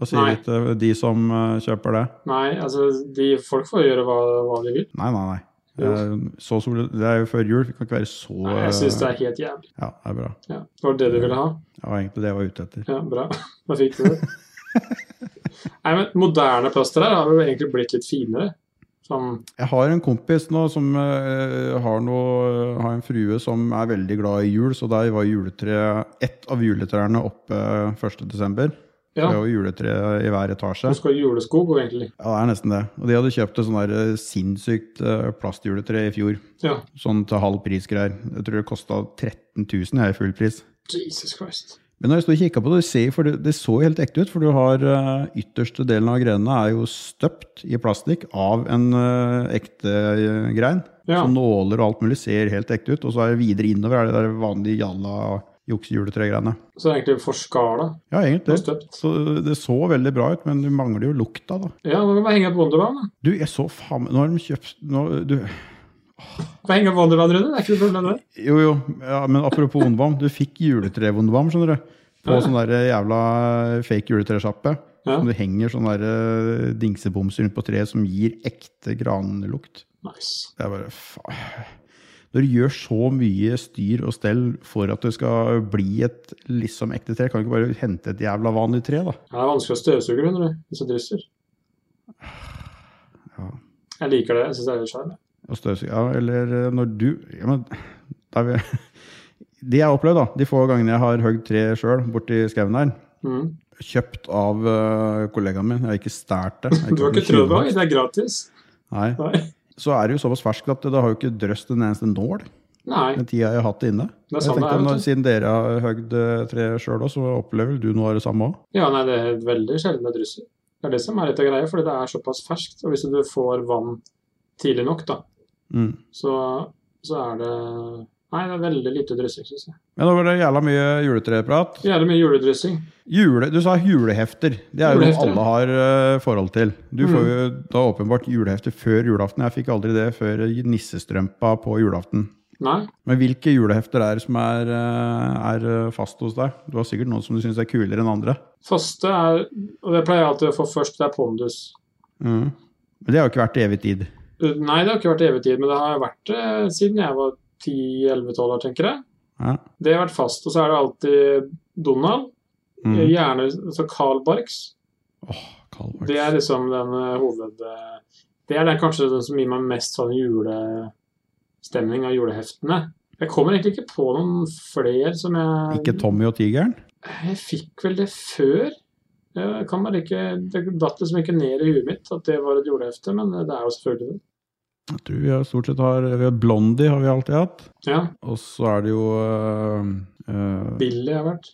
[SPEAKER 1] Hva
[SPEAKER 2] Nei.
[SPEAKER 1] sier du til de som eh, kjøper det?
[SPEAKER 2] Nei, altså, de folk får gjøre hva, hva de vil.
[SPEAKER 1] Nei, nei, nei.
[SPEAKER 2] Jo.
[SPEAKER 1] Eh, Så sol, det er jo før jul, vi kan ikke være så
[SPEAKER 2] Nei, jeg syns det
[SPEAKER 1] eh,
[SPEAKER 2] er helt jævlig.
[SPEAKER 1] Ja, det er bra.
[SPEAKER 2] Ja, det var det du ville ha?
[SPEAKER 1] Det var egentlig det jeg var ute etter.
[SPEAKER 2] Ja, bra. (laughs) Da fikk du (laughs) det. Nei, men moderne plaster her har jo egentlig blitt litt finere. Sånn
[SPEAKER 1] Jeg har en kompis nå som eh, har, noe, har en frue som er veldig glad i jul, så der var juletre, ett av juletrærne oppe 1.12.
[SPEAKER 2] Ja.
[SPEAKER 1] Det var jo juletre i hver etasje.
[SPEAKER 2] Du skal ha juleskog, og egentlig.
[SPEAKER 1] Ja, det er nesten det. Og de hadde kjøpt et sånn der eh, sinnssykt eh, plastjuletre i fjor.
[SPEAKER 2] Ja.
[SPEAKER 1] Sånn til halv pris-greier. Jeg tror det kosta 13 000 her i full pris.
[SPEAKER 2] Jesus Christ.
[SPEAKER 1] Men når jeg sto og kikka på det, ser, for det, det så helt ekte ut. For du har eh, ytterste delen av grenene er jo støpt i plastikk av en eh, ekte eh, grein.
[SPEAKER 2] Ja.
[SPEAKER 1] Så nåler og alt mulig ser helt ekte ut. Og så er det videre innover er det der vanlige jalla juksejuletregreiene.
[SPEAKER 2] Så det er egentlig forskala
[SPEAKER 1] Ja,
[SPEAKER 2] og
[SPEAKER 1] egentlig.
[SPEAKER 2] støpt.
[SPEAKER 1] Så det så veldig bra ut, men du mangler jo lukta, da.
[SPEAKER 2] Ja, nå kan vi bare henge opp Wonderland. da.
[SPEAKER 1] Du, jeg så faen meg Nå har de kjøpt nå, du,
[SPEAKER 2] Bare henge opp Wonderland, Rune. Det er ikke noe problem, det.
[SPEAKER 1] Jo, jo, ja, men apropos Vondvam. Du fikk juletrevondvam, skjønner du. På
[SPEAKER 2] Ja.
[SPEAKER 1] sånn der jævla fake juletresjappe.
[SPEAKER 2] Ja.
[SPEAKER 1] Som du henger sånn der eh, dingsebomse rundt på treet som gir ekte granlukt.
[SPEAKER 2] Nice.
[SPEAKER 1] Det er bare faen. Når du gjør så mye styr og stell for at det skal bli et liksom ekte tre, kan du ikke bare hente et jævla vanlig tre, da?
[SPEAKER 2] Ja, det er vanskelig å støvsuge, Rune, du, hvis du drysser.
[SPEAKER 1] Ja.
[SPEAKER 2] Jeg liker det. Jeg syns det er litt sjarm. jeg.
[SPEAKER 1] Og støvsug- Ja, eller eh, når du ja, men, da er vi, (laughs) De jeg har opplevd, da, de få gangene jeg har høgd tre sjøl borti skauen her,
[SPEAKER 2] Mm.
[SPEAKER 1] Kjøpt av eh, kollegaen min. Jeg har ikke stært det. Jeg
[SPEAKER 2] Du har
[SPEAKER 1] hatt
[SPEAKER 2] ikke
[SPEAKER 1] noe
[SPEAKER 2] trodd på
[SPEAKER 1] tjuvmakt.
[SPEAKER 2] det? Det er gratis.
[SPEAKER 1] Nei.
[SPEAKER 2] Nei.
[SPEAKER 1] Så er det jo såpass ferskt at det har jo ikke drøst en eneste nål
[SPEAKER 2] Nei.
[SPEAKER 1] den tida jeg har hatt det inne.
[SPEAKER 2] Det er
[SPEAKER 1] jeg
[SPEAKER 2] sånn det
[SPEAKER 1] tenkte,
[SPEAKER 2] er, vet
[SPEAKER 1] når,
[SPEAKER 2] du.
[SPEAKER 1] Siden dere har høgd eh, tre sjøl òg, så opplever vel du noe av det samme òg?
[SPEAKER 2] Ja, nei, det er veldig sjelden det drysser. Det er det som er litt av greia, fordi det er såpass ferskt. Og hvis du får vann tidlig nok, da,
[SPEAKER 1] Mm.
[SPEAKER 2] så, så er det Nei, det er veldig lite dressing, syns jeg.
[SPEAKER 1] Men nå var det jævla mye juletreprat.
[SPEAKER 2] Jævlig mye juledressing.
[SPEAKER 1] Jule, du sa julehefter. Det er jo noe
[SPEAKER 2] Julehefter, ja.
[SPEAKER 1] alle har eh, forhold til. Du
[SPEAKER 2] Mm.
[SPEAKER 1] får jo da åpenbart julehefter før julaften. Jeg fikk aldri det før nissestrømpa på julaften.
[SPEAKER 2] Nei.
[SPEAKER 1] Men hvilke julehefter er det som er, eh, er eh, fast hos deg? Du har sikkert noen som du syns er kulere enn andre.
[SPEAKER 2] Faste er Og det pleier jeg alltid å få først, det er pondus.
[SPEAKER 1] Mm. Men det har jo ikke vært til evig tid.
[SPEAKER 2] Uh, Nei, det har ikke vært evig tid, men det har vært det siden jeg var 10-11-12 år, tenker jeg.
[SPEAKER 1] Ja.
[SPEAKER 2] Det har vært fast. Og så er det alltid Donald.
[SPEAKER 1] Mm.
[SPEAKER 2] Gjerne så Carl Barks.
[SPEAKER 1] Åh, Karl
[SPEAKER 2] Det er
[SPEAKER 1] Marx.
[SPEAKER 2] liksom den eh, hoved... eh, Det er den, kanskje den som gir meg mest sånn julestemning av juleheftene. Jeg kommer egentlig ikke på noen flere som jeg
[SPEAKER 1] Ikke Tommy og tigeren?
[SPEAKER 2] Jeg fikk vel det før. Jeg kan bare ikke, Det datt liksom ikke ned i huet mitt at det var et julehefte, men det er jo selvfølgelig det.
[SPEAKER 1] Jeg tror vi har stort sett har, vi har Blondie har vi alltid hatt.
[SPEAKER 2] Ja,
[SPEAKER 1] Og så er det jo eh, eh,
[SPEAKER 2] Billy har vært.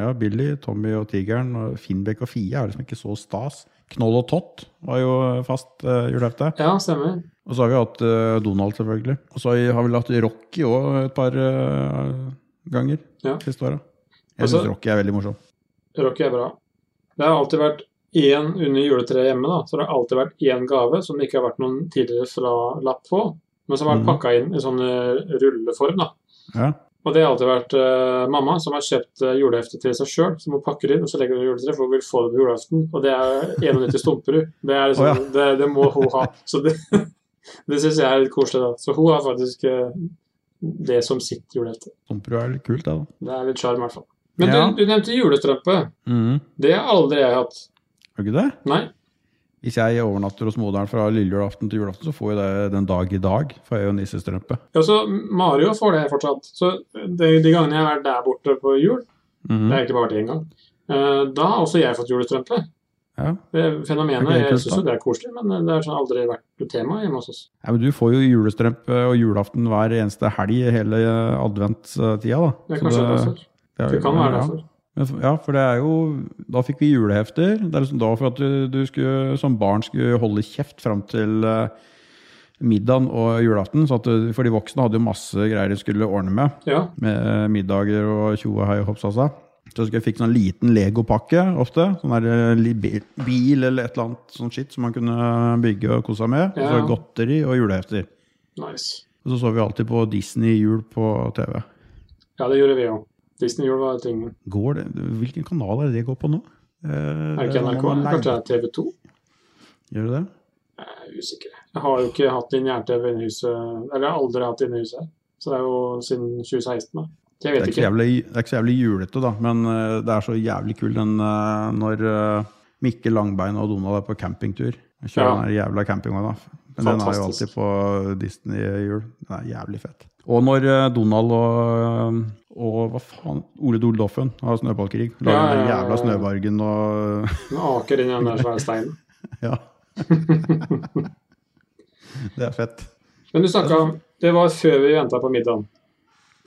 [SPEAKER 1] Ja, Billy, Tommy og Tigeren og Finnbekk og Fie er liksom ikke så stas. Knoll og Tott var jo fast uh, julehefte.
[SPEAKER 2] Ja, stemmer.
[SPEAKER 1] Og så har vi hatt eh, Donald, selvfølgelig. Og så har vi hatt Rocky òg et par eh, ganger
[SPEAKER 2] Ja.
[SPEAKER 1] siste åra. Jeg
[SPEAKER 2] Altså-
[SPEAKER 1] syns Rocky er veldig morsom.
[SPEAKER 2] Rocky er bra. Det har alltid vært én under juletreet hjemme, da. Så det har alltid vært én gave som det ikke har vært noen tidligere fra lapp på, men som har vært
[SPEAKER 1] Mhm.
[SPEAKER 2] pakka inn i sånn eh, rulleform, da.
[SPEAKER 1] Ja.
[SPEAKER 2] Og det har alltid vært eh, mamma som har kjøpt eh, julehefte til seg sjøl, som hun pakker inn og så legger hun i juletreet, for hun vil få det på julaften. Og det er 91 stumperud. Det, er liksom,
[SPEAKER 1] Å,
[SPEAKER 2] det, det må hun ha. Så det, (laughs) det syns jeg er litt koselig, da. Så hun har faktisk eh, det som sitt julehefte.
[SPEAKER 1] Stumperud er litt kult, det, da.
[SPEAKER 2] Det er litt sjarm, i hvert fall. Men
[SPEAKER 1] Ja.
[SPEAKER 2] du, du nevnte julestrømpe.
[SPEAKER 1] Mm.
[SPEAKER 2] Det har aldri jeg hatt.
[SPEAKER 1] Er ikke det?
[SPEAKER 2] Nei.
[SPEAKER 1] Hvis jeg overnatter hos moderen fra lille julaften til julaften, så får jeg det den dag i dag. Får jeg jo nissestrømpe.
[SPEAKER 2] Ja, så Mario får det fortsatt. Så de, de gangene jeg har vært der borte på jul, det
[SPEAKER 1] Mhm.
[SPEAKER 2] har egentlig bare vært én gang, eh, da har også jeg fått julestrømpe.
[SPEAKER 1] Ja.
[SPEAKER 2] Det fenomenet,
[SPEAKER 1] Ok,
[SPEAKER 2] jeg
[SPEAKER 1] kult,
[SPEAKER 2] syns jo det er koselig, men det har sånn aldri vært tema hjemme hos oss.
[SPEAKER 1] ja, men du får jo julestrømpe og julaften hver eneste helg hele eh, adventstida, da.
[SPEAKER 2] Det er
[SPEAKER 1] Så
[SPEAKER 2] kanskje
[SPEAKER 1] det- er
[SPEAKER 2] derfor. Det altså.
[SPEAKER 1] jo-
[SPEAKER 2] kan være
[SPEAKER 1] ja.
[SPEAKER 2] derfor.
[SPEAKER 1] Men f- Ja, for det er jo Da fikk vi julehefter. Det er liksom da for at du, du skulle, som barn skulle holde kjeft fram til eh, middagen og julaften. Så at, du- for de voksne hadde jo masse greier de skulle ordne med.
[SPEAKER 2] Ja,
[SPEAKER 1] Med eh, middager og tjo og hei og hoppsasa. Så skulle jeg fikk sånn liten legopakke ofte. Sånn der eh, li- bi- bil eller et eller annet sånt skitt som man kunne bygge og kose seg med. Og
[SPEAKER 2] Ja.
[SPEAKER 1] så godteri og julehefter.
[SPEAKER 2] nice.
[SPEAKER 1] Og så så vi alltid på Disney jul på TV.
[SPEAKER 2] Ja, det gjorde vi òg. Disney-jul var tingen.
[SPEAKER 1] Går det, hvilken kanal er det det går på nå? Eh,
[SPEAKER 2] Er det ikke
[SPEAKER 1] sånn
[SPEAKER 2] NRK?
[SPEAKER 1] man leier-
[SPEAKER 2] Kanskje det er TV 2?
[SPEAKER 1] Gjør det det?
[SPEAKER 2] Jeg er usikker. Jeg har jo ikke hatt lineær-TV inne i huset. Eller jeg har aldri hatt det inne i huset. Så det er jo siden 2016, da. Så Jeg
[SPEAKER 1] Det
[SPEAKER 2] vet
[SPEAKER 1] er ikke så
[SPEAKER 2] ikke.
[SPEAKER 1] jævlig, det er ikke så jævlig julete, da, men eh, det er så jævlig kul den eh, når eh, Mikkel Langbein og Donald er på campingtur. Jeg Kjører
[SPEAKER 2] Ja.
[SPEAKER 1] den her jævla campingvogna. Men den er jo alltid
[SPEAKER 2] Fantastisk.
[SPEAKER 1] på Disney-jul. Den er jævlig fett. Og når eh, Donald og, eh, og hva faen, Ole Doldoffen har snøballkrig. Lager
[SPEAKER 2] Ja,
[SPEAKER 1] den
[SPEAKER 2] ja, ja,
[SPEAKER 1] jævla
[SPEAKER 2] ja.
[SPEAKER 1] snøbargen og (laughs)
[SPEAKER 2] Den aker inn i den der svære steinen. (laughs)
[SPEAKER 1] Ja. det er fett.
[SPEAKER 2] Men du snakka om Det var før vi venta på middagen.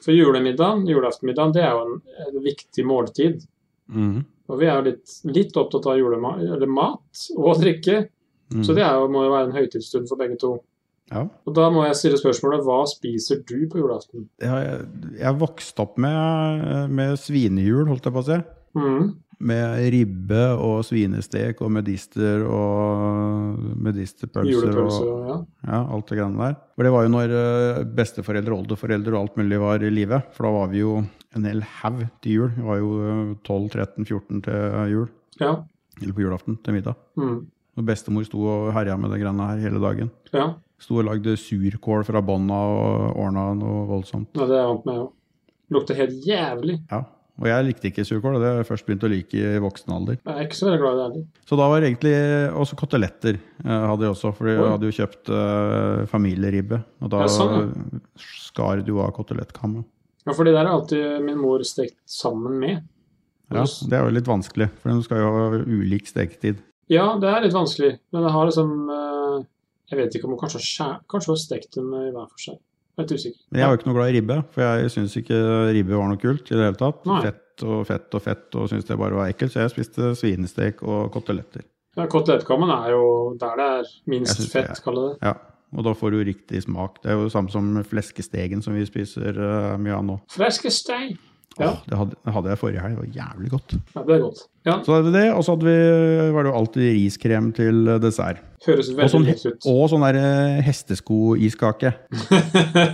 [SPEAKER 2] For julemiddagen, julaftenmiddagen, det er jo en, en viktig måltid.
[SPEAKER 1] Mhm.
[SPEAKER 2] Og vi er jo litt, litt opptatt av julema eller mat og drikke,
[SPEAKER 1] Mhm.
[SPEAKER 2] så det er jo, må jo være en høytidsstund for begge to.
[SPEAKER 1] ja.
[SPEAKER 2] Og da må jeg stille spørsmålet hva spiser du på julaften?
[SPEAKER 1] jeg, jeg vokste opp med, med svinehjul, holdt jeg på å si.
[SPEAKER 2] Mhm.
[SPEAKER 1] Med ribbe og svinestek og medister og medisterpølser
[SPEAKER 2] Julepølse
[SPEAKER 1] og
[SPEAKER 2] og ja.
[SPEAKER 1] ja, alt det greiene der. For det var jo når eh, besteforeldre, oldeforeldre og alt mulig var i live. For da var vi jo en hel haug til jul. Vi var jo eh, 12-13-14 til jul.
[SPEAKER 2] Ja.
[SPEAKER 1] Eller på julaften til middag.
[SPEAKER 2] Mhm.
[SPEAKER 1] Og bestemor sto og herja med de greiene her hele dagen.
[SPEAKER 2] ja.
[SPEAKER 1] Sto og lagde surkål fra bånda og ordna noe voldsomt.
[SPEAKER 2] ja, det er jeg vant med, jo. Lukter helt jævlig.
[SPEAKER 1] Ja, og jeg likte ikke surkål, og det har jeg først begynt å like i voksen alder.
[SPEAKER 2] Jeg er ikke så veldig glad i det heller.
[SPEAKER 1] Så da var det egentlig også koteletter eh, hadde jeg også, for jeg
[SPEAKER 2] Oi.
[SPEAKER 1] hadde jo kjøpt eh, familieribbe, og da
[SPEAKER 2] Ja, sånn,
[SPEAKER 1] skar du av kotelettkam.
[SPEAKER 2] Ja, for det der er alltid min mor stekt sammen med.
[SPEAKER 1] Ja, det er jo litt vanskelig, for den skal jo ha ulik steketid.
[SPEAKER 2] Ja, det er litt vanskelig, men jeg har liksom eh, Jeg vet ikke om hun kanskje har skjær- Kanskje hun har stekt dem i hver for seg. Jeg er litt usikker.
[SPEAKER 1] Men jeg var jo ikke noe glad i ribbe, for jeg syns ikke ribbe var noe kult i det hele tatt.
[SPEAKER 2] Nei.
[SPEAKER 1] Fett og fett og fett, og syntes det bare var ekkelt, så jeg spiste svinestek og koteletter.
[SPEAKER 2] Ja, Kotelettkammen er jo der det er minst
[SPEAKER 1] Jeg synes det
[SPEAKER 2] fett, kaller det.
[SPEAKER 1] Ja, Og da får du riktig smak. Det er jo det samme som fleskestegen som vi spiser eh, mye av nå.
[SPEAKER 2] Fleskesteg. Ja.
[SPEAKER 1] Åh, det hadde, det hadde jeg forrige helg, det var jævlig godt.
[SPEAKER 2] ja, det er godt. Ja,
[SPEAKER 1] Så hadde vi det, og så hadde vi, var det jo alltid riskrem til dessert.
[SPEAKER 2] Høres
[SPEAKER 1] Og
[SPEAKER 2] veldig
[SPEAKER 1] sånn,
[SPEAKER 2] likt (laughs) ut.
[SPEAKER 1] og sånn der eh, hesteskoiskake.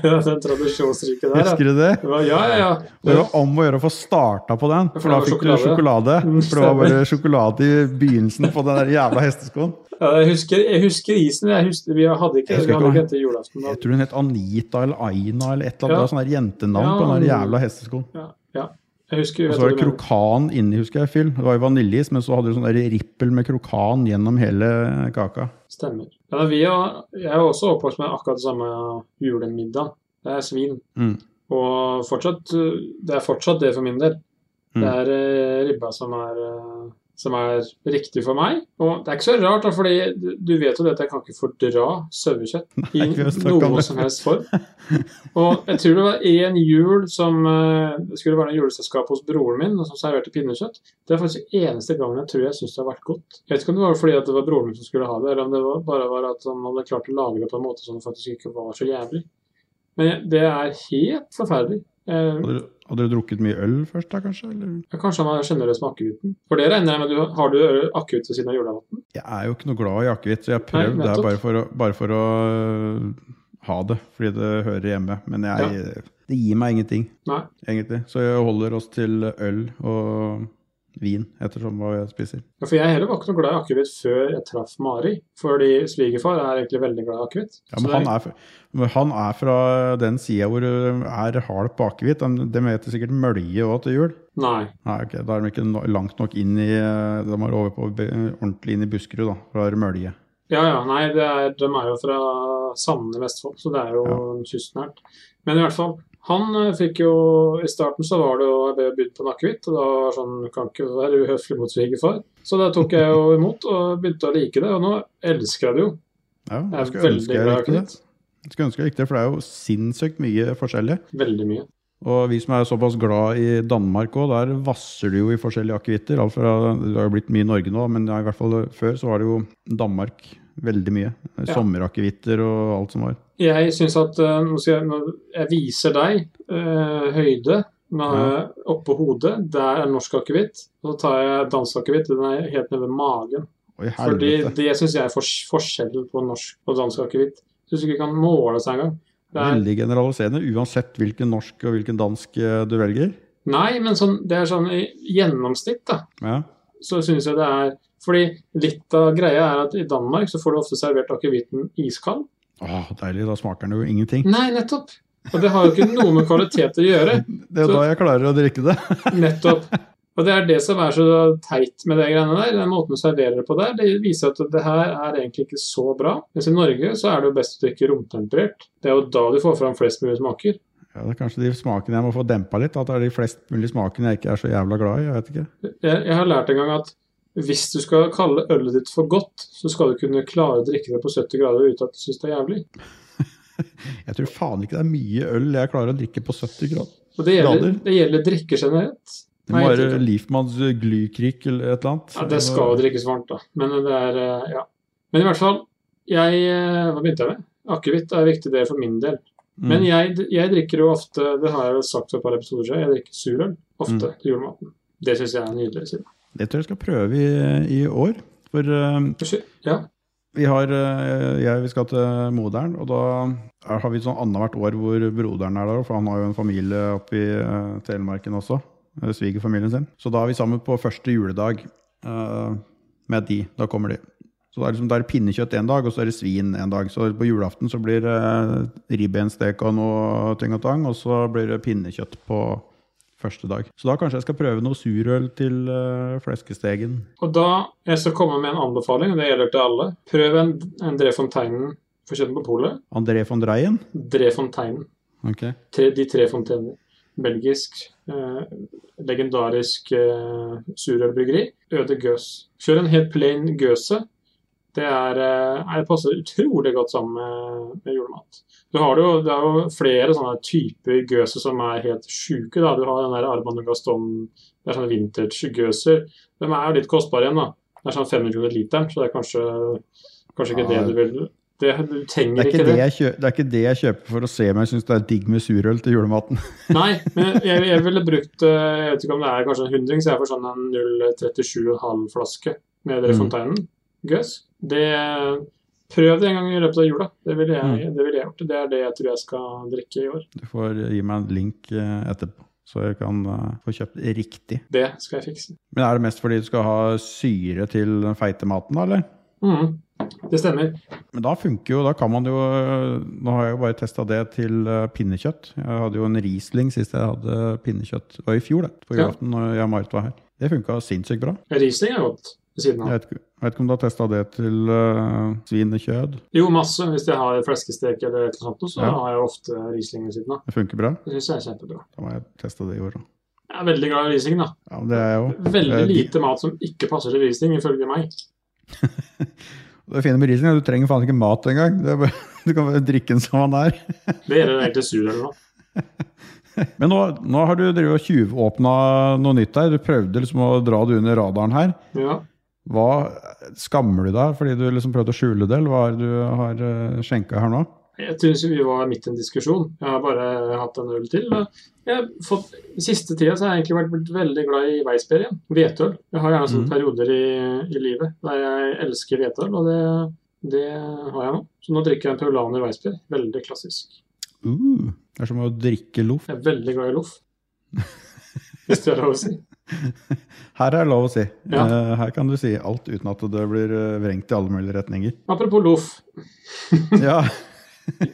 [SPEAKER 2] Den tradisjonsrike der. ja.
[SPEAKER 1] Husker du det?
[SPEAKER 2] Det var- Ja, ja, ja.
[SPEAKER 1] Det var om å gjøre å få starta på den, for da
[SPEAKER 2] det var Mm.
[SPEAKER 1] fikk du sjokolade. For det var bare sjokolade i begynnelsen på den der jævla hesteskoen.
[SPEAKER 2] Ja, Jeg husker, jeg husker isen. Jeg husker, vi hadde ikke,
[SPEAKER 1] Jeg husker
[SPEAKER 2] vi hadde
[SPEAKER 1] ikke
[SPEAKER 2] ikke etter julaften. Da.
[SPEAKER 1] Jeg tror hun het Anita eller Aina eller et eller
[SPEAKER 2] Ja.
[SPEAKER 1] annet. sånn der jentenavn
[SPEAKER 2] Ja.
[SPEAKER 1] på den der jævla hesteskoen.
[SPEAKER 2] Ja, ja. Jeg husker,
[SPEAKER 1] Og
[SPEAKER 2] vet
[SPEAKER 1] så var
[SPEAKER 2] du
[SPEAKER 1] det
[SPEAKER 2] hva jeg
[SPEAKER 1] krokan inni, husker jeg, Fyll. Det var jo vaniljeis, men så hadde du sånn der rippel med krokan gjennom hele kaka.
[SPEAKER 2] mener. Stemmer. Ja, da, vi har, jeg er også oppvokst med akkurat det samme julemiddag. Det er svin.
[SPEAKER 1] Mm.
[SPEAKER 2] Og fortsatt, uh, det er fortsatt det for min del.
[SPEAKER 1] Mm.
[SPEAKER 2] Det er eh, ribba som er, eh, som er riktig for meg. Og det er ikke så rart, da, fordi du- du vet jo det at jeg kan ikke fordra sauekjøtt i
[SPEAKER 1] Nei, vi har snakket om
[SPEAKER 2] noe
[SPEAKER 1] det.
[SPEAKER 2] som helst form. Og jeg tror det var en jul som eh, Det skulle være noe juleselskap hos broren min som serverte pinnekjøtt. Det er faktisk den eneste gangen jeg tror jeg syns det har vært godt. Jeg vet ikke om det var fordi at det var broren min som skulle ha det, eller om det var, bare var at han hadde klart å lage det på en måte som faktisk ikke var så jævlig. Men jeg- det er helt forferdelig. Eh,
[SPEAKER 1] Hadde du, hadde du drukket mye øl først da, kanskje? Eller?
[SPEAKER 2] ja, Kanskje han er sjenerøs med akevitten? For det regner jeg med du har du akevitt ved siden av julevann?
[SPEAKER 1] Jeg er jo ikke noe glad i akevitt, så jeg har prøvd
[SPEAKER 2] Nei,
[SPEAKER 1] det her
[SPEAKER 2] nettopp.
[SPEAKER 1] bare for å, bare for å øh, ha det, fordi det hører hjemme. Men jeg, det gir meg ingenting,
[SPEAKER 2] Nei.
[SPEAKER 1] egentlig. Så jeg holder oss til øl og vin, ettersom hva jeg spiser.
[SPEAKER 2] Ja, for jeg heller var ikke noe glad i akevitt før jeg traff Mari. Fordi svigerfar er egentlig veldig glad i akevitt.
[SPEAKER 1] Ja, men han er, fra- men han er fra den sida hvor det er hard på akevitt. De de heter sikkert mølje òg til jul.
[SPEAKER 2] Nei.
[SPEAKER 1] Nei, ok, Da er de ikke no- langt nok inn i eh, De er over på be- ordentlig inn i Buskerud, da. Fra mølje.
[SPEAKER 2] Ja, ja. Nei, det er, de er jo fra Sande i Vestfold, så det er jo kystnært. Men i hvert fall. Han eh, fikk jo I starten så var det jo Jeg ble bydd på en akevitt, og da var det sånn Kan ikke være uhøflig mot svigerfar. Så det tok jeg jo imot, og begynte å like det. Og nå elsker jeg det jo.
[SPEAKER 1] Ja,
[SPEAKER 2] Jeg
[SPEAKER 1] jeg
[SPEAKER 2] er
[SPEAKER 1] skulle ønske
[SPEAKER 2] veldig
[SPEAKER 1] jeg
[SPEAKER 2] glad
[SPEAKER 1] likte
[SPEAKER 2] i
[SPEAKER 1] det.
[SPEAKER 2] akevitt.
[SPEAKER 1] Jeg Skulle ønske jeg likte det, for det er jo sinnssykt mye forskjellig.
[SPEAKER 2] Veldig mye.
[SPEAKER 1] Og vi som er såpass glad i Danmark òg, der vasser det jo i forskjellige akevitter. Alt fra- Det har jo blitt mye i Norge nå, men ja, i hvert fall før så var det jo Danmark veldig mye.
[SPEAKER 2] Ja.
[SPEAKER 1] Sommerakevitter og alt som var.
[SPEAKER 2] Jeg syns at eh, nå skal jeg, nå, jeg viser deg eh, høyde med,
[SPEAKER 1] Ja.
[SPEAKER 2] oppå hodet. Der er norsk akevitt. Og så tar jeg dansk akevitt. Den er helt nede ved magen.
[SPEAKER 1] Oi,
[SPEAKER 2] Fordi
[SPEAKER 1] helvete.
[SPEAKER 2] det syns jeg er fors forskjellen på norsk og dansk akevitt. Syns ikke vi kan måle seg engang. Det er,
[SPEAKER 1] Veldig generaliserende, uansett hvilken norsk og hvilken dansk eh, du velger.
[SPEAKER 2] nei, men sånn, det er sånn i gjennomsnitt, da.
[SPEAKER 1] Ja.
[SPEAKER 2] Så syns jeg det er Fordi litt av greia er at i Danmark så får du ofte servert akevitten iskald.
[SPEAKER 1] Åh, deilig, da smaker den jo ingenting.
[SPEAKER 2] Nei, nettopp. Og det har jo ikke noe med kvalitet å gjøre.
[SPEAKER 1] Det er jo
[SPEAKER 2] Mm. Så-
[SPEAKER 1] da jeg klarer å drikke det. (laughs)
[SPEAKER 2] Nettopp. Og det er det som er så teit med de greiene der. Den måten du serverer det på der, det viser at det her er egentlig ikke så bra. Mens i Norge så er det jo best å drikke romtemperert. Det er jo da du får fram flest mulig smaker.
[SPEAKER 1] Ja, det er kanskje de smakene jeg må få dempa litt. At det er de flest mulig smakene jeg ikke er så jævla glad i. Jeg vet ikke.
[SPEAKER 2] Jeg, jeg har lært en gang at hvis du skal kalle ølet ditt for godt, så skal du kunne klare å drikke det på 70 grader uten at du syns det er jævlig.
[SPEAKER 1] Jeg tror faen ikke det er mye øl jeg klarer å drikke på 70 grader.
[SPEAKER 2] Og det gjelder,
[SPEAKER 1] Grader?
[SPEAKER 2] det gjelder drikke generelt.
[SPEAKER 1] Det må
[SPEAKER 2] Nei, jeg tror
[SPEAKER 1] være
[SPEAKER 2] ikke.
[SPEAKER 1] Leafmans eh, glykrik eller et eller annet.
[SPEAKER 2] Ja, det skal jo drikkes varmt, da. Men det er eh, Ja. Men i hvert fall, jeg eh, Hva begynte jeg med? Akevitt er en viktig del for min del.
[SPEAKER 1] Mm.
[SPEAKER 2] Men jeg, jeg drikker jo ofte, det har jeg jo sagt for et par episoder siden, jeg drikker surøl ofte
[SPEAKER 1] Mm.
[SPEAKER 2] til julematen. Det syns jeg er nydelig. Siden.
[SPEAKER 1] Det tror jeg skal prøve i, i år. For eh,
[SPEAKER 2] Unnskyld, Ja.
[SPEAKER 1] vi, har, eh, jeg, vi skal til moderen, og da er- har vi sånn annethvert år hvor broderen er der. For han har jo en familie oppe i eh, Telemarken også. eh, Svigerfamilien sin. Så da er vi sammen på første juledag eh, med de. Da kommer de. Så da er, det liksom, da er det pinnekjøtt en dag, og så er det svin en dag. Så på julaften så blir det eh, ribbeinstek og noe ting og tang, og så blir det pinnekjøtt på første dag. Så da kanskje jeg skal prøve noe surøl til eh, fleskestegen.
[SPEAKER 2] Og da jeg skal komme med en anbefaling, og det gjelder til alle, prøv en, en Dre Fonteinen for kjøttet på polet.
[SPEAKER 1] André von Dreien.
[SPEAKER 2] Dre Fonteinen.
[SPEAKER 1] Ok.
[SPEAKER 2] Tre, de tre fontener. Belgisk, eh, legendarisk eh, surølbryggeri. Øde gøs. Kjør en helt plain gøse. Det er, eh, nei, det passer utrolig godt sammen med, med julemat. Du har det jo, det er jo flere sånne typer gøse som er helt sjuke. Da. Du har den der Armand Gaston, det er sånne vintage-gøser. De er jo litt kostbare igjen, da. Det er sånn 500 kroner literen, så det er kanskje, kanskje ikke
[SPEAKER 1] Ja,
[SPEAKER 2] det du vil Det, du trenger
[SPEAKER 1] Det er,
[SPEAKER 2] ikke
[SPEAKER 1] ikke det jeg kjø- det er ikke det jeg kjøper for å se om jeg syns det er digg med surøl til julematen. (laughs)
[SPEAKER 2] Nei, men jeg, jeg ville brukt eh, Jeg vet ikke om det er kanskje en hundring, så jeg får sånn en 0,37,5 flaske med
[SPEAKER 1] Mm.
[SPEAKER 2] Fontainen. Gøss. Det Prøv det en gang i løpet av jula. Det ville jeg,
[SPEAKER 1] Mm.
[SPEAKER 2] det ville jeg gjort. Det er det jeg tror jeg skal drikke i år.
[SPEAKER 1] Du får gi meg en link eh, etterpå, så jeg kan eh, få kjøpt riktig.
[SPEAKER 2] Det skal jeg fikse.
[SPEAKER 1] Men er det mest fordi du skal ha syre til den feite maten, da, eller?
[SPEAKER 2] Mhm. Det stemmer.
[SPEAKER 1] Men da funker jo, da kan man jo eh, Nå har jeg jo bare testa det til eh, pinnekjøtt. Jeg hadde jo en Riesling sist jeg hadde pinnekjøtt. Det var i fjor, det. På
[SPEAKER 2] Ja.
[SPEAKER 1] julaften når jeg og Marit var her. Det funka sinnssykt bra.
[SPEAKER 2] Riesling er godt ved siden av.
[SPEAKER 1] Jeg vet, ikke- jeg vet ikke om du har testa det til eh, svinekjød.
[SPEAKER 2] Jo, masse. Hvis jeg har fleskestek eller et eller annet, sånt, så
[SPEAKER 1] Ja.
[SPEAKER 2] har jeg ofte Riesling ved siden av.
[SPEAKER 1] Det funker bra.
[SPEAKER 2] Det syns jeg er kjempebra.
[SPEAKER 1] Da må jeg teste det i år òg.
[SPEAKER 2] Jeg er veldig glad i Riesling, da.
[SPEAKER 1] Ja, men det er jeg òg.
[SPEAKER 2] Veldig
[SPEAKER 1] Eh, de-
[SPEAKER 2] lite mat som ikke passer til Riesling, ifølge meg.
[SPEAKER 1] Det fine med Riesling er at du trenger faen ikke mat engang. Det er bare, (laughs) du kan bare drikke den som den er.
[SPEAKER 2] Det gjelder egentlig surøl nå.
[SPEAKER 1] Men nå, nå har du drevet og tjuvåpna noe nytt her. Du prøvde liksom å dra det under radaren her.
[SPEAKER 2] Ja.
[SPEAKER 1] Hva Skammer du deg fordi du liksom prøvde å skjule det, eller hva er det du har uh, skjenka her nå?
[SPEAKER 2] Jeg synes vi var midt i en diskusjon. Jeg har bare hatt en øl til. og Jeg har fått, siste tida så har jeg egentlig vært blitt veldig glad i Weissberg igjen. Hvetøl. Jeg har gjerne sånne
[SPEAKER 1] Mhm.
[SPEAKER 2] perioder i, i livet der jeg elsker hvetøl, og det, det har jeg nå. Så nå drikker jeg en Paulaner Weissberg. Veldig klassisk.
[SPEAKER 1] Uh, det er som å drikke loff.
[SPEAKER 2] Jeg er veldig glad i loff. Hvis det er lov å si.
[SPEAKER 1] Her er det lov å si.
[SPEAKER 2] Ja.
[SPEAKER 1] Eh, her kan du si alt uten at det blir eh, vrengt i alle mulige retninger. (laughs)
[SPEAKER 2] Apropos loff.
[SPEAKER 1] Ja,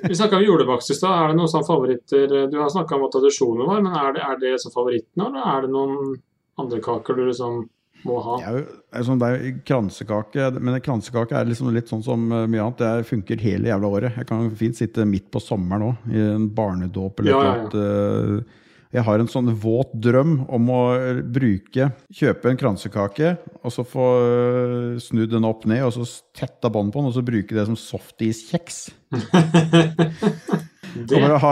[SPEAKER 2] Vi snakka om julebakst i stad. Er det noen sånne favoritter Du har snakka om hva tradisjonen var, men er det, er det så favoritten, eller er det noen andre kaker du liksom må ha?
[SPEAKER 1] det er jo det er sånn, det er jo kransekake, men kransekake er liksom litt sånn som eh, mye annet. Det funker hele jævla året. Jeg kan fint sitte midt på sommeren òg, i en barnedåp eller
[SPEAKER 2] Ja,
[SPEAKER 1] noe
[SPEAKER 2] ja, ja.
[SPEAKER 1] annet. eh, jeg har en sånn våt drøm om å eh, bruke Kjøpe en kransekake, og så få eh, snudd den opp ned, og så tetta bånd på den, og så bruke det som softiskjeks. Og
[SPEAKER 2] Det,
[SPEAKER 1] Bare ha,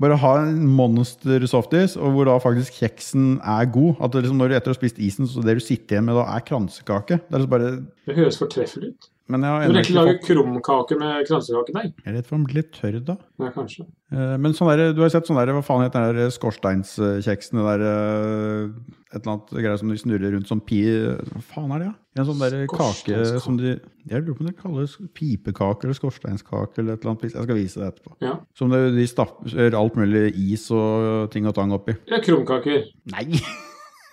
[SPEAKER 1] bare ha en monster softis, og hvor da faktisk kjeksen er god. At det liksom når du etter å ha spist isen, så det du sitter igjen med da, er kransekake. Det er liksom bare
[SPEAKER 2] det høres fortreffelig ut.
[SPEAKER 1] Men jeg har
[SPEAKER 2] Du
[SPEAKER 1] ennå
[SPEAKER 2] rekker
[SPEAKER 1] ikke
[SPEAKER 2] å lage
[SPEAKER 1] fått
[SPEAKER 2] krumkaker med kransekakedeig.
[SPEAKER 1] Jeg er redd for å bli litt tørr, da.
[SPEAKER 2] Ja, kanskje.
[SPEAKER 1] Eh, Men sånn der, du har sett sånn der, hva faen heter den der skorsteinskjeksen? Det der eh, Et eller annet greier som de snurrer rundt som pi... Hva faen er det, ja? En sånn der kake
[SPEAKER 2] Skorsteinskake.
[SPEAKER 1] som de Jeg lurer på om det kalles pipekake eller skorsteinskake eller et eller annet. Jeg skal vise det etterpå.
[SPEAKER 2] Ja.
[SPEAKER 1] Som det, de stapper alt mulig is og ting og tang oppi.
[SPEAKER 2] Ja, krumkaker.
[SPEAKER 1] Nei!